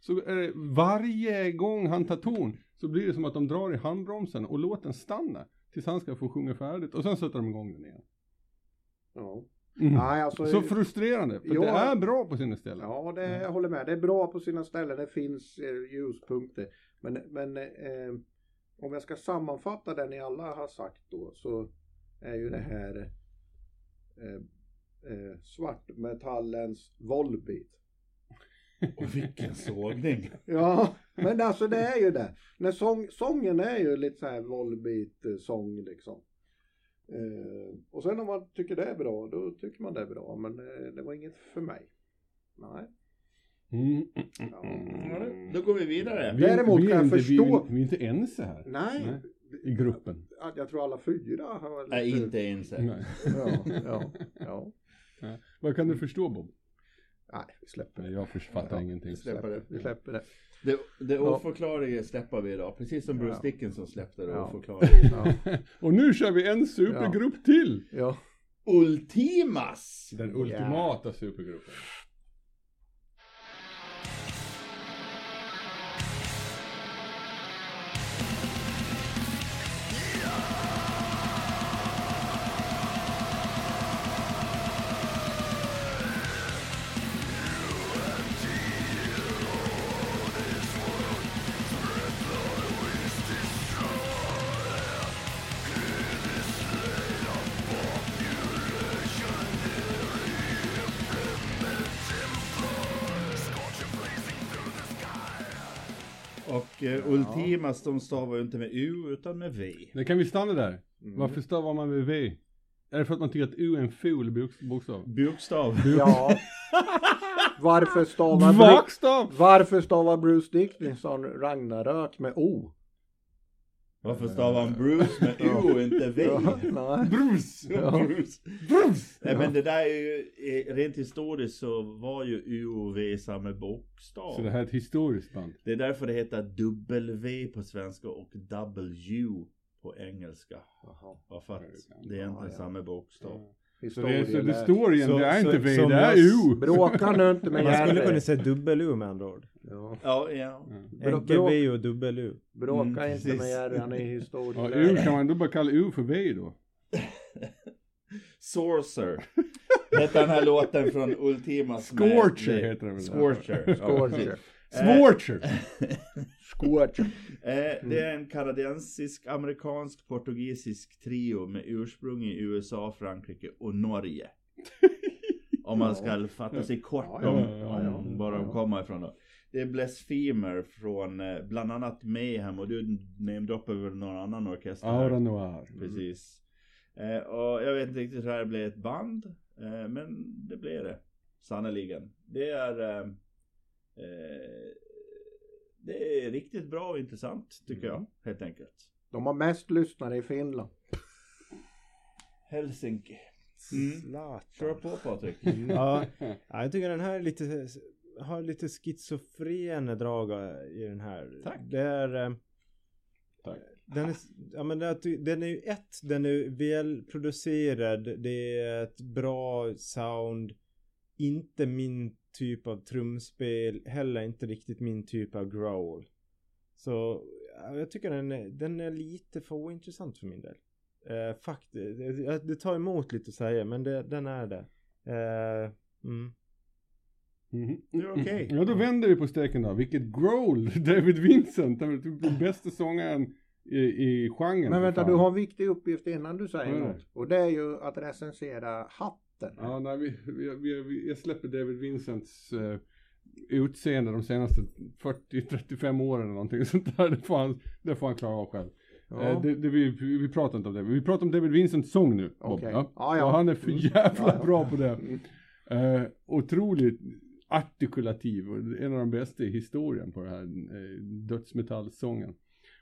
[SPEAKER 4] så är det, varje gång han tar ton så blir det som att de drar i handbromsen och låten stanna tills han ska få sjunga färdigt och sen sätter de igång den igen.
[SPEAKER 1] Ja. Nej, alltså,
[SPEAKER 4] Mm. Så frustrerande, för
[SPEAKER 1] Jo.
[SPEAKER 4] det är bra på sina ställen.
[SPEAKER 1] Ja, det, jag håller med. Det är bra på sina ställen. Det finns eh, ljuspunkter. Men, men eh, om jag ska sammanfatta det ni alla har sagt då så är ju det här eh, eh, svartmetallens Volbeat.
[SPEAKER 3] Och vilken sågning.
[SPEAKER 1] Ja, men alltså det är ju det. När sång, sången är ju lite så här Volbeat-sång liksom. Eh, och sen om man tycker det är bra, då tycker man det är bra. Men eh, det var inget för mig. Nej.
[SPEAKER 4] Mm.
[SPEAKER 1] Ja.
[SPEAKER 3] Ja, nu- Då går vi vidare.
[SPEAKER 4] Vi,
[SPEAKER 1] Däremot
[SPEAKER 4] vi är
[SPEAKER 1] kan jag
[SPEAKER 4] inte,
[SPEAKER 1] förstå-
[SPEAKER 4] Vi, vi är inte ens så här
[SPEAKER 1] Nej.
[SPEAKER 4] i gruppen.
[SPEAKER 1] att Jag tror alla fyra har lite...
[SPEAKER 3] Nej, inte ens.
[SPEAKER 4] Nej.
[SPEAKER 1] Ja, ja, ja.
[SPEAKER 4] Vad kan du förstå Bob?
[SPEAKER 1] Nej, vi släpper det.
[SPEAKER 4] Nej, jag fattar
[SPEAKER 1] Ja.
[SPEAKER 4] ingenting.
[SPEAKER 1] Vi släpper det. Vi släpper det.
[SPEAKER 3] Det, det
[SPEAKER 1] Ja.
[SPEAKER 3] oförklarliga släpper vi idag. Precis som Bruce
[SPEAKER 1] Ja.
[SPEAKER 3] Dickinson släppte det
[SPEAKER 1] Ja.
[SPEAKER 3] oförklarliga.
[SPEAKER 1] Ja,
[SPEAKER 4] Och nu kör vi en supergrupp till!
[SPEAKER 1] ja.
[SPEAKER 3] Ultimas!
[SPEAKER 4] Den ultimata supergruppen.
[SPEAKER 3] Och eh, Ultimas, de stavar ju inte med U utan med V.
[SPEAKER 4] Det kan vi stanna där.
[SPEAKER 1] Mm.
[SPEAKER 4] Varför stavar man med V? Är det för att man tycker att U är en ful bok- bokstav?
[SPEAKER 3] Bokstav.
[SPEAKER 1] ja. Varför stavar, Bru-
[SPEAKER 4] Vakstav!
[SPEAKER 1] Varför stavar Bruce Dickinson Ragnarök med O?
[SPEAKER 3] Varför stavar han Bruce med U inte V?
[SPEAKER 1] Ja, nej.
[SPEAKER 4] Brus!
[SPEAKER 3] Bruce.
[SPEAKER 4] Brus!
[SPEAKER 3] Nej, men det där är ju, eh, rent historiskt så var ju U och V samma bokstav.
[SPEAKER 4] Så det här är ett historiskt band.
[SPEAKER 3] Det är därför det heter W på svenska och W på engelska.
[SPEAKER 1] Jaha.
[SPEAKER 3] Varför att det är egentligen
[SPEAKER 1] Ja, ja.
[SPEAKER 3] samma bokstav.
[SPEAKER 4] Så det, är, så det
[SPEAKER 1] Historielärd.
[SPEAKER 4] står igen,
[SPEAKER 2] Så-
[SPEAKER 4] det är
[SPEAKER 2] så-
[SPEAKER 4] inte V,
[SPEAKER 2] som
[SPEAKER 4] det är
[SPEAKER 2] jag-
[SPEAKER 4] U!
[SPEAKER 1] Bråka nu inte med
[SPEAKER 2] Man skulle kunna
[SPEAKER 1] Jerry.
[SPEAKER 2] säga dubbel-U med andra ord.
[SPEAKER 1] Ja.
[SPEAKER 3] Ja, ja.
[SPEAKER 1] Bra- bra-
[SPEAKER 2] Enkel-V och dubbel-U.
[SPEAKER 1] Bråka
[SPEAKER 3] Mm,
[SPEAKER 1] inte
[SPEAKER 3] precis.
[SPEAKER 1] med Jerry, han är
[SPEAKER 4] Ja, U
[SPEAKER 1] historielärare.
[SPEAKER 4] kan man då bara kalla U för V då?
[SPEAKER 1] Eh.
[SPEAKER 3] Sorcer. Hette den här låten från Ultimas med-
[SPEAKER 4] Scorcher
[SPEAKER 3] med-
[SPEAKER 4] heter den väl?
[SPEAKER 3] Scorcher.
[SPEAKER 1] Scorcher. Eh.
[SPEAKER 4] Svorcher!
[SPEAKER 1] Scorcher.
[SPEAKER 3] Eh, det är en kanadensisk, amerikansk, portugisisk trio med ursprung i USA, Frankrike och Norge. Om man ska fatta sig kort
[SPEAKER 1] Ja, ja,
[SPEAKER 3] om,
[SPEAKER 4] ja, ja,
[SPEAKER 3] om var de kommer ifrån då. Det är Blasphemer från eh, bland annat Mayhem och du namedroppar väl någon annan orkester? här?
[SPEAKER 4] Aura Noir.
[SPEAKER 3] Mm. Precis. Eh, och jag vet inte riktigt hur det här blev ett band. Eh, men det blev det. Sannerligen. Det är eh, eh, Det är riktigt bra och intressant tycker jag helt enkelt.
[SPEAKER 1] De har mest lyssnare i Finland.
[SPEAKER 3] Helsinki. Mm. Kör på Patrik.
[SPEAKER 2] Ja, ja, jag tycker den här är lite, har lite schizofrena drag i den här.
[SPEAKER 3] Tack.
[SPEAKER 2] Det är, eh,
[SPEAKER 4] Tack.
[SPEAKER 2] Den är, ja, men den, är- den är ju ett, den är välproducerad, det är ett bra sound, inte min typ av trumspel, heller inte riktigt min typ av growl. Så ja, jag tycker den är, den är lite för ointressant för min del. Eh, faktiskt, det, det tar emot lite att säga men det, den är det. Eh, mm.
[SPEAKER 4] Mhm.
[SPEAKER 3] Det är okej.
[SPEAKER 4] Ja, då vänder vi på steken då. Vilket growl! David Vincent, den den bästa sångaren i, i genren.
[SPEAKER 1] Men
[SPEAKER 4] för
[SPEAKER 1] vänta,
[SPEAKER 4] fan.
[SPEAKER 1] du har en viktig uppgift innan du säger
[SPEAKER 4] Mm.
[SPEAKER 1] något. Och det är ju att recensera hatten.
[SPEAKER 4] Ja, nej, vi, vi, vi, vi, jag släpper David Vincents eh, utseende de senaste 40-35 åren eller någonting sånt där. Det får han, det får han klara av själv.
[SPEAKER 1] Ja.
[SPEAKER 4] Eh, det, det, vi, vi pratar inte om det. Vi pratar om David Vincents sång nu. Bob,
[SPEAKER 1] Okej.
[SPEAKER 4] Ja.
[SPEAKER 1] Ja, ja.
[SPEAKER 4] Och han är för
[SPEAKER 1] Mm.
[SPEAKER 4] jävla
[SPEAKER 1] Ja, Mm. ja.
[SPEAKER 4] bra på det. Eh, otroligt artikulativ och en av de bästa i historien på den här eh, dödsmetallsången.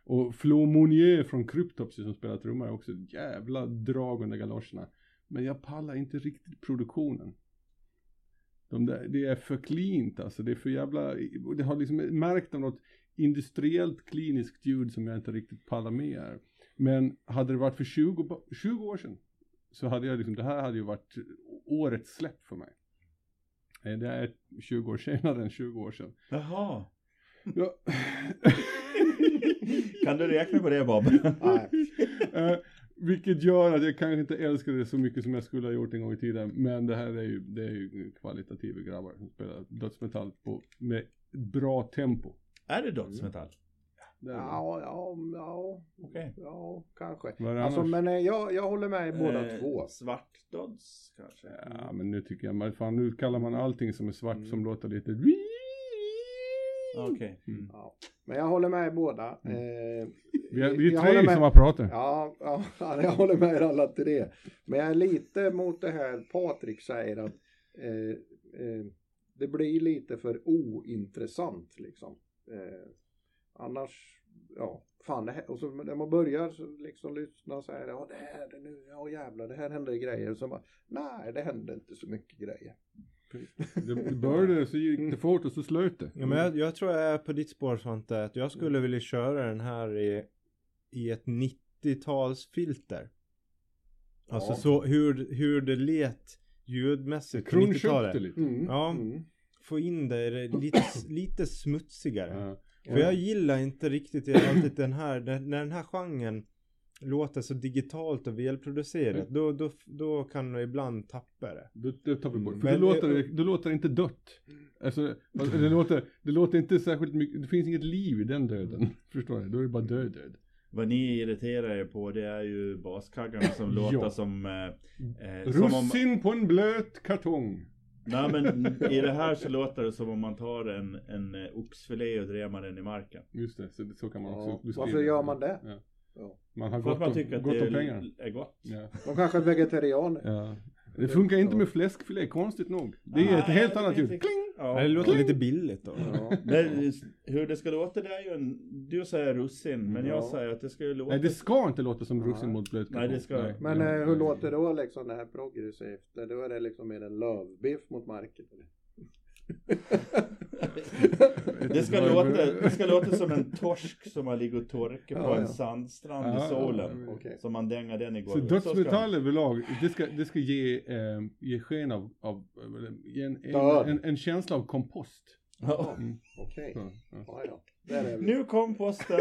[SPEAKER 4] Och Flo Monnier från Cryptopsy som spelar trummor är också ett jävla drag under galoscherna. Men jag pallar inte riktigt produktionen. De där, det är för cleant alltså, det är för jävla, och det har liksom märkt av något industriellt kliniskt ljud som jag inte riktigt pallar med här. Men hade det varit för 20, ba- 20 år sedan så hade jag liksom, det här hade ju varit årets släpp för mig. Eh, Det är 20 år senare än 20 år sedan.
[SPEAKER 3] Jaha.
[SPEAKER 4] Ja.
[SPEAKER 3] Kan du räkna på det Bob?
[SPEAKER 1] Nej.
[SPEAKER 4] Eh, Vilket gör att jag kanske inte älskar det så mycket som jag skulle ha gjort en gång i tiden. Men det här är ju, det är ju kvalitativa grabbar som spelar dödsmetall på, med bra tempo.
[SPEAKER 3] Är det dödsmetall?
[SPEAKER 4] Det är det.
[SPEAKER 1] Ja, ja, ja,
[SPEAKER 3] Okej.
[SPEAKER 1] ja kanske.
[SPEAKER 4] Vad är det
[SPEAKER 1] Alltså,
[SPEAKER 4] annars?
[SPEAKER 1] men eh, jag, jag håller med båda
[SPEAKER 3] Eh,
[SPEAKER 1] två.
[SPEAKER 3] Svart döds kanske?
[SPEAKER 4] Ja, men nu tycker jag, men fan nu kallar man allting som är svart
[SPEAKER 3] Mm.
[SPEAKER 4] som låter lite...
[SPEAKER 3] Okej.
[SPEAKER 1] Ja. Men jag håller med båda.
[SPEAKER 4] Mm.
[SPEAKER 1] Eh,
[SPEAKER 4] Vi är,
[SPEAKER 1] jag
[SPEAKER 4] vi är
[SPEAKER 1] håller
[SPEAKER 4] tre
[SPEAKER 1] med.
[SPEAKER 4] som har pratat.
[SPEAKER 1] Ja, ja, jag håller med er alla till det. Men jag är lite mot det här Patrik säger att eh, eh, det blir lite för ointressant liksom. Eh, annars, ja, fan det här, och så när man börjar så liksom lyssna så här, ja det här, det nu, ja jävlar, det här hände grejer. Och så bara, nej det hände inte så mycket grejer.
[SPEAKER 4] Det det började så gick
[SPEAKER 3] Mm.
[SPEAKER 4] det fort och så slöt det.
[SPEAKER 2] Ja, men jag, jag tror jag är på ditt spår Svante, att jag skulle vilja köra den här i, i ett 90-talsfilter. Alltså
[SPEAKER 1] Ja.
[SPEAKER 2] så hur, hur det let ljudmässigt på
[SPEAKER 4] Kronköpte
[SPEAKER 2] 90-talet.
[SPEAKER 4] lite.
[SPEAKER 1] Mm,
[SPEAKER 2] Ja.
[SPEAKER 1] mm.
[SPEAKER 2] Få in det i det lite, lite smutsigare.
[SPEAKER 4] Ja.
[SPEAKER 2] För jag gillar inte riktigt det- alltid den här, när, när den här genren låter så digitalt och välproducerat, då, då, då kan du ibland tappa det.
[SPEAKER 4] Då, då tar vi bort. För
[SPEAKER 2] Men-
[SPEAKER 4] då, låter det, då låter det inte dött. Alltså, alltså, det, låter, det låter inte särskilt mycket, det finns inget liv i den döden. Förstår du? Då är det bara död, död.
[SPEAKER 3] Vad ni irriterar er på det är ju baskaggarna som
[SPEAKER 4] Ja.
[SPEAKER 3] låter som... Eh, eh, som om,
[SPEAKER 4] Russin på en blöt kartong.
[SPEAKER 3] nej men i det här så låter det som om man tar en, en eh, oxfilé och drämmer den i marken.
[SPEAKER 4] Just det, så, så kan man
[SPEAKER 1] Ja,
[SPEAKER 4] också beskriva
[SPEAKER 1] varför gör man det?
[SPEAKER 4] Ja.
[SPEAKER 1] Ja.
[SPEAKER 4] Man har
[SPEAKER 3] För att
[SPEAKER 4] gott
[SPEAKER 3] man
[SPEAKER 4] om,
[SPEAKER 3] tycker att
[SPEAKER 4] gott
[SPEAKER 3] det
[SPEAKER 4] om pengar.
[SPEAKER 3] är, är gott.
[SPEAKER 4] Ja.
[SPEAKER 1] De kanske är vegetarianer.
[SPEAKER 4] Ja. Det funkar inte
[SPEAKER 1] Ja.
[SPEAKER 4] med fläskfilé, konstigt nog. Det är
[SPEAKER 3] Nej,
[SPEAKER 4] ett helt
[SPEAKER 3] det
[SPEAKER 4] annat
[SPEAKER 3] finns
[SPEAKER 4] ljud.
[SPEAKER 3] inte. Ja.
[SPEAKER 2] Det låter lite billigt då.
[SPEAKER 1] Ja.
[SPEAKER 3] Men hur det ska låta det är ju en... Du säger russin men
[SPEAKER 1] Ja.
[SPEAKER 3] jag säger att det ska ju låta...
[SPEAKER 4] Nej, det ska inte låta som
[SPEAKER 1] Nej.
[SPEAKER 4] russin mot blöt
[SPEAKER 3] Nej, det ska-
[SPEAKER 1] Men eh, hur låter då liksom det här progressivt? Då är det liksom mer en lövbiff mot marken. eller?
[SPEAKER 3] Det ska, låta, det ska låta som en torsk som har ligger och torkar på
[SPEAKER 1] Ja, ja.
[SPEAKER 3] en sandstrand
[SPEAKER 4] Ja, ja,
[SPEAKER 3] i solen.
[SPEAKER 4] Mm.
[SPEAKER 1] Okej.
[SPEAKER 3] Så man dänger den i
[SPEAKER 4] Så
[SPEAKER 3] golvet. ska-
[SPEAKER 4] dödsmetall överlag, det ska, det ska ge, eh, ge sken av, av eller, ge en, en,
[SPEAKER 1] Död.
[SPEAKER 4] en, en känsla av kompost.
[SPEAKER 3] Ja.
[SPEAKER 1] Okej.
[SPEAKER 4] Så, ja.
[SPEAKER 1] Ja, ja. Där är vi.
[SPEAKER 3] Nu kom posten!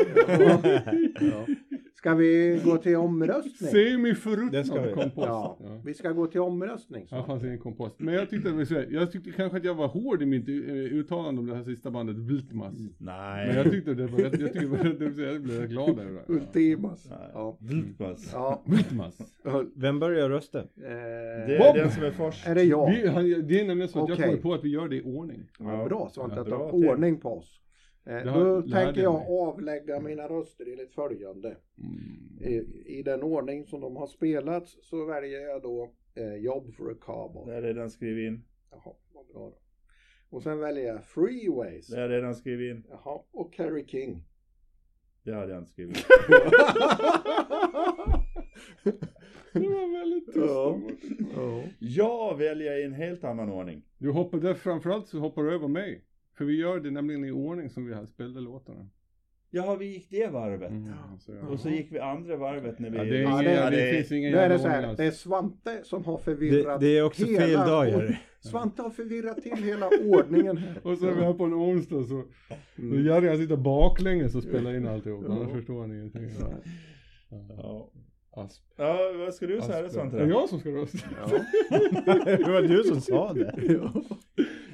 [SPEAKER 1] Ja. Ska vi gå till omröstning?
[SPEAKER 2] Det ska vi.
[SPEAKER 4] Semiförruttnad kompost.
[SPEAKER 1] Ja.
[SPEAKER 4] Ja.
[SPEAKER 1] Vi ska gå till omröstning.
[SPEAKER 4] Ja, det
[SPEAKER 1] Så.
[SPEAKER 4] fanns ingen kompost. Men jag tyckte, det var så här- jag tyckte kanske att jag var hård i mitt eh, uttalande om det här sista bandet, Viltmas. Men jag
[SPEAKER 3] Nej.
[SPEAKER 4] tyckte det var rätt, jag tyckte det var rätt, det vill säga, jag blev rätt glad över det.
[SPEAKER 1] Ultimas. Ja.
[SPEAKER 3] Viltmas.
[SPEAKER 1] ja.
[SPEAKER 4] Viltmas.
[SPEAKER 2] Vem börjar rösta?
[SPEAKER 3] Det
[SPEAKER 1] Eh,
[SPEAKER 3] är
[SPEAKER 4] Bob!
[SPEAKER 3] den som är först.
[SPEAKER 1] är det jag?
[SPEAKER 4] Vi, han- det är nämligen så att jag
[SPEAKER 1] Okej.
[SPEAKER 4] kommer på att vi gör det i ordning.
[SPEAKER 1] Ja, bra Svante att du
[SPEAKER 3] Bra
[SPEAKER 1] har
[SPEAKER 3] tänkt.
[SPEAKER 1] ordning på oss. Eh,
[SPEAKER 4] Det har-
[SPEAKER 1] Då
[SPEAKER 4] lärde
[SPEAKER 1] tänker
[SPEAKER 4] jag
[SPEAKER 1] jag
[SPEAKER 4] mig.
[SPEAKER 1] avlägga mina röster enligt följande.
[SPEAKER 4] Mm.
[SPEAKER 1] I, I den ordning som de har spelats så väljer jag då eh, Job for a Cowboy.
[SPEAKER 3] Det har jag redan skrivit in.
[SPEAKER 1] Jaha, vad bra då. Och sen väljer jag Freeways.
[SPEAKER 3] Det har jag redan skrivit in.
[SPEAKER 1] Jaha, och Carrie King.
[SPEAKER 3] Det hade jag inte skrivit in.
[SPEAKER 4] Det var väldigt tyst.
[SPEAKER 1] Ja.
[SPEAKER 3] Jag väljer i en helt annan ordning.
[SPEAKER 4] Du hoppar där framförallt så hoppar du över mig. För vi gör det nämligen i ordning som vi här spelade låtarna.
[SPEAKER 3] Jaha, vi gick det varvet.
[SPEAKER 4] Mm, så ja.
[SPEAKER 3] Och så gick vi andra varvet när vi...
[SPEAKER 4] Ja, det, är
[SPEAKER 1] Ja,
[SPEAKER 4] ingen,
[SPEAKER 1] det är-
[SPEAKER 4] det,
[SPEAKER 3] det är-
[SPEAKER 4] finns ingen
[SPEAKER 1] Nu är det
[SPEAKER 4] jävla
[SPEAKER 1] så
[SPEAKER 4] ordning alltså.
[SPEAKER 1] här,
[SPEAKER 4] alls.
[SPEAKER 1] det är Svante som har
[SPEAKER 2] Det,
[SPEAKER 1] förvirrat
[SPEAKER 2] det är också
[SPEAKER 1] hela
[SPEAKER 2] fel dag gör
[SPEAKER 1] ord-
[SPEAKER 2] det.
[SPEAKER 1] Svante har förvirrat till hela ordningen här. Mm.
[SPEAKER 4] Och så är vi här på en onsdag så,
[SPEAKER 3] Mm.
[SPEAKER 4] så Jerry han sitter baklänges och spelar in alltihop. Annars förstår han ingenting.
[SPEAKER 3] Ja.
[SPEAKER 4] Asp.
[SPEAKER 3] ja, vad ska du säga
[SPEAKER 4] Asp.
[SPEAKER 3] Svante?
[SPEAKER 4] Det är jag som ska rösta.
[SPEAKER 2] Det var du som sa det.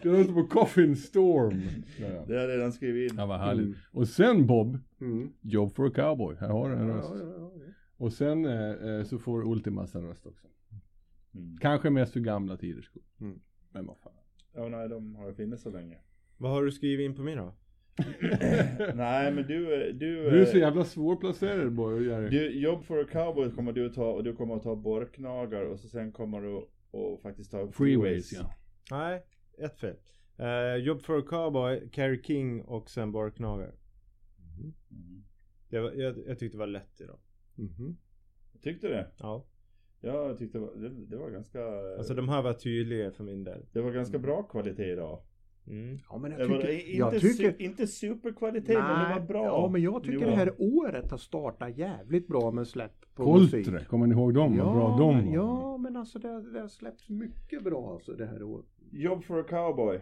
[SPEAKER 4] Jag röstar på Coffin Storm. Ja,
[SPEAKER 3] Det har jag redan skrivit in.
[SPEAKER 4] ja. vad härligt. Och sen Bob,
[SPEAKER 1] Mm.
[SPEAKER 4] Job for a Cowboy. Här har du en
[SPEAKER 1] Ja,
[SPEAKER 4] röst.
[SPEAKER 1] ja, ja.
[SPEAKER 4] Och sen eh, eh, så får Ultimas en röst också.
[SPEAKER 3] Mm.
[SPEAKER 4] Kanske mest för gamla tiders skull.
[SPEAKER 1] Mm.
[SPEAKER 4] Men vad fan.
[SPEAKER 3] Ja, nej, de har funnits så länge.
[SPEAKER 2] Vad har du skrivit in på mig då?
[SPEAKER 3] nej, men du... Du,
[SPEAKER 4] Du är
[SPEAKER 3] eh,
[SPEAKER 4] så jävla svårplacerad Boy och Jerry.
[SPEAKER 3] du Jobb for a cowboy kommer du att ta och du kommer att ta borknagar och så sen kommer du att faktiskt ta
[SPEAKER 4] Freeways ja.
[SPEAKER 2] Nej, ett fel. Eh, Job for a cowboy, Carrie King och sen Barknagar.
[SPEAKER 3] Mm.
[SPEAKER 2] Det var, jag, jag tyckte det var lätt idag.
[SPEAKER 3] Mm-hmm.
[SPEAKER 1] Mhm.
[SPEAKER 3] Tyckte du det?
[SPEAKER 2] Ja.
[SPEAKER 3] Jag tyckte det var, det, det var ganska...
[SPEAKER 2] Alltså de här var tydliga för min del.
[SPEAKER 3] det var ganska bra kvalitet idag.
[SPEAKER 2] Mm.
[SPEAKER 1] Ja, men jag
[SPEAKER 3] Det var,
[SPEAKER 1] tycker...
[SPEAKER 3] i-
[SPEAKER 1] jag
[SPEAKER 3] inte,
[SPEAKER 1] tycker-
[SPEAKER 3] su, inte superkvalitet men det var bra.
[SPEAKER 1] ja, men jag tycker
[SPEAKER 3] var-
[SPEAKER 1] det här året har startat jävligt bra med släpp på
[SPEAKER 4] Koltre,
[SPEAKER 1] musik.
[SPEAKER 4] kommer ni ihåg dem? vad bra de var.
[SPEAKER 1] ja, men alltså det, har- det har släppts mycket bra alltså det här året.
[SPEAKER 3] Job for a cowboy.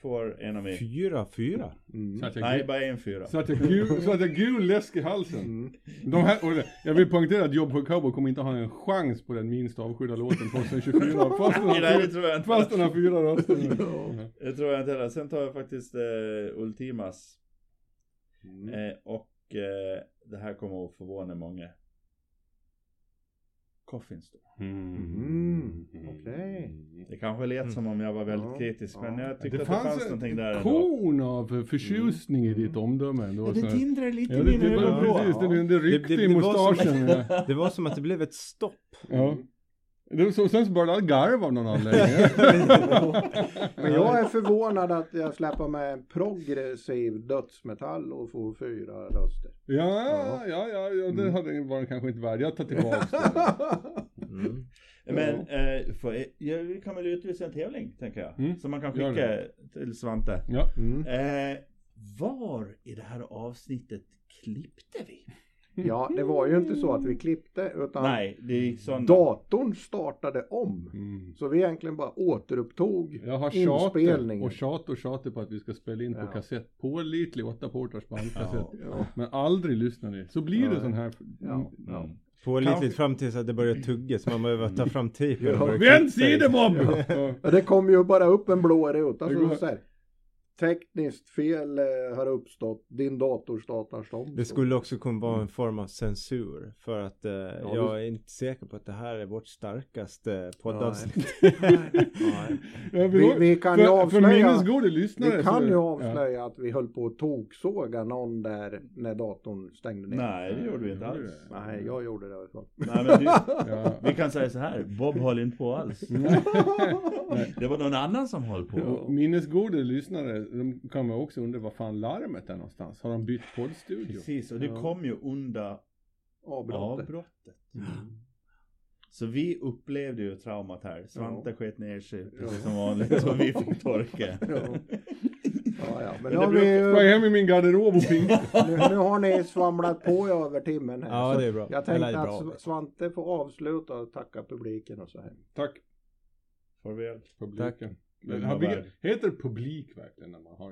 [SPEAKER 3] får en av mig.
[SPEAKER 2] Fyra, fyra.
[SPEAKER 1] Mm.
[SPEAKER 4] Så att jag-
[SPEAKER 3] Nej, bara en fyra.
[SPEAKER 4] Så att jag gul, så att jag gul läsk i halsen.
[SPEAKER 1] Mm.
[SPEAKER 4] De här, och det- jag vill poängtera att Job Hood Cowboy kommer inte ha en chans på den minst avskydda låten 2024. Fast den
[SPEAKER 3] Nej, det
[SPEAKER 4] har,
[SPEAKER 3] tror jag inte.
[SPEAKER 4] fast den har fyra röster.
[SPEAKER 3] Det tror jag inte heller. Sen tar jag faktiskt eh, Ultimas.
[SPEAKER 1] Mm.
[SPEAKER 3] Eh, och eh, det här kommer att förvåna många. Coffin Store.
[SPEAKER 1] Mm. Okej.
[SPEAKER 3] Det kanske
[SPEAKER 1] Mm.
[SPEAKER 3] lät som om jag var väldigt
[SPEAKER 1] Ja,
[SPEAKER 3] kritisk men
[SPEAKER 1] ja.
[SPEAKER 3] jag tyckte
[SPEAKER 4] Det
[SPEAKER 3] att det fanns,
[SPEAKER 4] fanns
[SPEAKER 3] någonting där
[SPEAKER 4] ett
[SPEAKER 3] ändå.
[SPEAKER 4] korn av förtjusning i ditt omdöme ändå.
[SPEAKER 2] Ja,
[SPEAKER 4] så
[SPEAKER 2] det
[SPEAKER 4] här.
[SPEAKER 2] tindrar lite
[SPEAKER 4] Ja,
[SPEAKER 2] i
[SPEAKER 4] det,
[SPEAKER 2] mina
[SPEAKER 4] det,
[SPEAKER 2] ögonbryn.
[SPEAKER 4] precis, det, det ryckte
[SPEAKER 2] Det- det-
[SPEAKER 4] i
[SPEAKER 2] det var som-
[SPEAKER 4] mustaschen. ja.
[SPEAKER 2] Det var som att det blev ett stopp.
[SPEAKER 4] Ja. Det var så, sen så började alla garva av någon anledning.
[SPEAKER 1] Men jag är förvånad att jag släpper med en progressiv dödsmetall och får fyra röster.
[SPEAKER 4] Ja, ja, ja, ja det
[SPEAKER 1] Mm.
[SPEAKER 4] hade varit kanske inte värd. Jag tar tillbaka det.
[SPEAKER 3] Men eh, får, ja, vi kan väl utlysa en tävling tänker jag.
[SPEAKER 4] Mm,
[SPEAKER 3] Som man kan
[SPEAKER 4] gör
[SPEAKER 3] skicka till Svante.
[SPEAKER 4] Ja.
[SPEAKER 1] Mm.
[SPEAKER 3] Eh, var i det här avsnittet klippte vi?
[SPEAKER 1] Ja, det var ju inte så att vi klippte utan
[SPEAKER 3] Nej, det gick sådana.
[SPEAKER 1] datorn startade om.
[SPEAKER 4] Mm.
[SPEAKER 1] Så vi egentligen bara återupptog
[SPEAKER 4] Jag har tjatat
[SPEAKER 1] inspelningen.
[SPEAKER 4] och tjat och tjatat på att vi ska spela in på
[SPEAKER 1] Ja.
[SPEAKER 4] kassett. Pålitlig åtta portars bandkassett.
[SPEAKER 1] Ja.
[SPEAKER 4] Men aldrig lyssnar ni. Så blir det
[SPEAKER 1] Ja.
[SPEAKER 4] sån här...
[SPEAKER 1] Ja.
[SPEAKER 3] Ja.
[SPEAKER 2] Pålitligt fram tills att det börjar tugga så man behöver ta fram tejp. och
[SPEAKER 1] Ja.
[SPEAKER 2] börja klippa i.
[SPEAKER 4] Vänd sidemobb! Ja.
[SPEAKER 1] Ja, det kom ju bara upp en blå ruta.
[SPEAKER 4] Det
[SPEAKER 1] Så
[SPEAKER 4] går-
[SPEAKER 1] så här, tekniskt fel eh, har uppstått. Din dator startar om.
[SPEAKER 2] Det skulle också kunna vara en form av censur för att eh,
[SPEAKER 1] du-
[SPEAKER 2] jag är inte säker på att det här är vårt starkaste poddavsnitt.
[SPEAKER 4] Jag vill-
[SPEAKER 1] Vi- vi kan ju
[SPEAKER 4] för, för
[SPEAKER 1] avslöja-
[SPEAKER 4] minnesgode lyssnare
[SPEAKER 1] Vi
[SPEAKER 4] så-
[SPEAKER 1] kan ju
[SPEAKER 4] Ja.
[SPEAKER 1] avslöja att vi höll på att toksåga någon där när datorn stängde ner.
[SPEAKER 3] Nej, det gjorde vi inte
[SPEAKER 4] Ja, det
[SPEAKER 3] alls.
[SPEAKER 4] gjorde
[SPEAKER 1] Nej, jag gjorde det i alla fall.
[SPEAKER 3] Nej, men du,
[SPEAKER 4] Ja.
[SPEAKER 3] vi kan säga så här, Bob höll inte på alls. Det var någon annan som höll på.
[SPEAKER 4] Och minnesgoda lyssnare, de kan man också undra var fan larmet är någonstans. Har de bytt poddstudio?
[SPEAKER 3] Precis, och det kom ju under
[SPEAKER 1] Avbrottet.
[SPEAKER 3] avbrottet. Så vi upplevde ju traumat här. Svante sket ner sig precis som vanligt och vi fick torka.
[SPEAKER 1] Ja. Ja, ja. Men nu
[SPEAKER 3] Men det
[SPEAKER 1] har, vi,
[SPEAKER 3] brukar-
[SPEAKER 4] Jag är
[SPEAKER 1] ju-
[SPEAKER 4] hem i min garderob och pink.
[SPEAKER 1] nu, nu har ni svamlat på i över timmen. Här,
[SPEAKER 2] Ja,
[SPEAKER 1] så
[SPEAKER 2] det är bra.
[SPEAKER 1] Jag
[SPEAKER 2] Eller det
[SPEAKER 1] tänkte
[SPEAKER 2] är
[SPEAKER 1] att
[SPEAKER 2] bra.
[SPEAKER 1] Sv- Svante får avsluta och tacka publiken och så här.
[SPEAKER 4] Tack
[SPEAKER 3] Farväl.
[SPEAKER 4] publiken. Men,
[SPEAKER 3] Tack.
[SPEAKER 4] har vi- heter publik verkligen när man har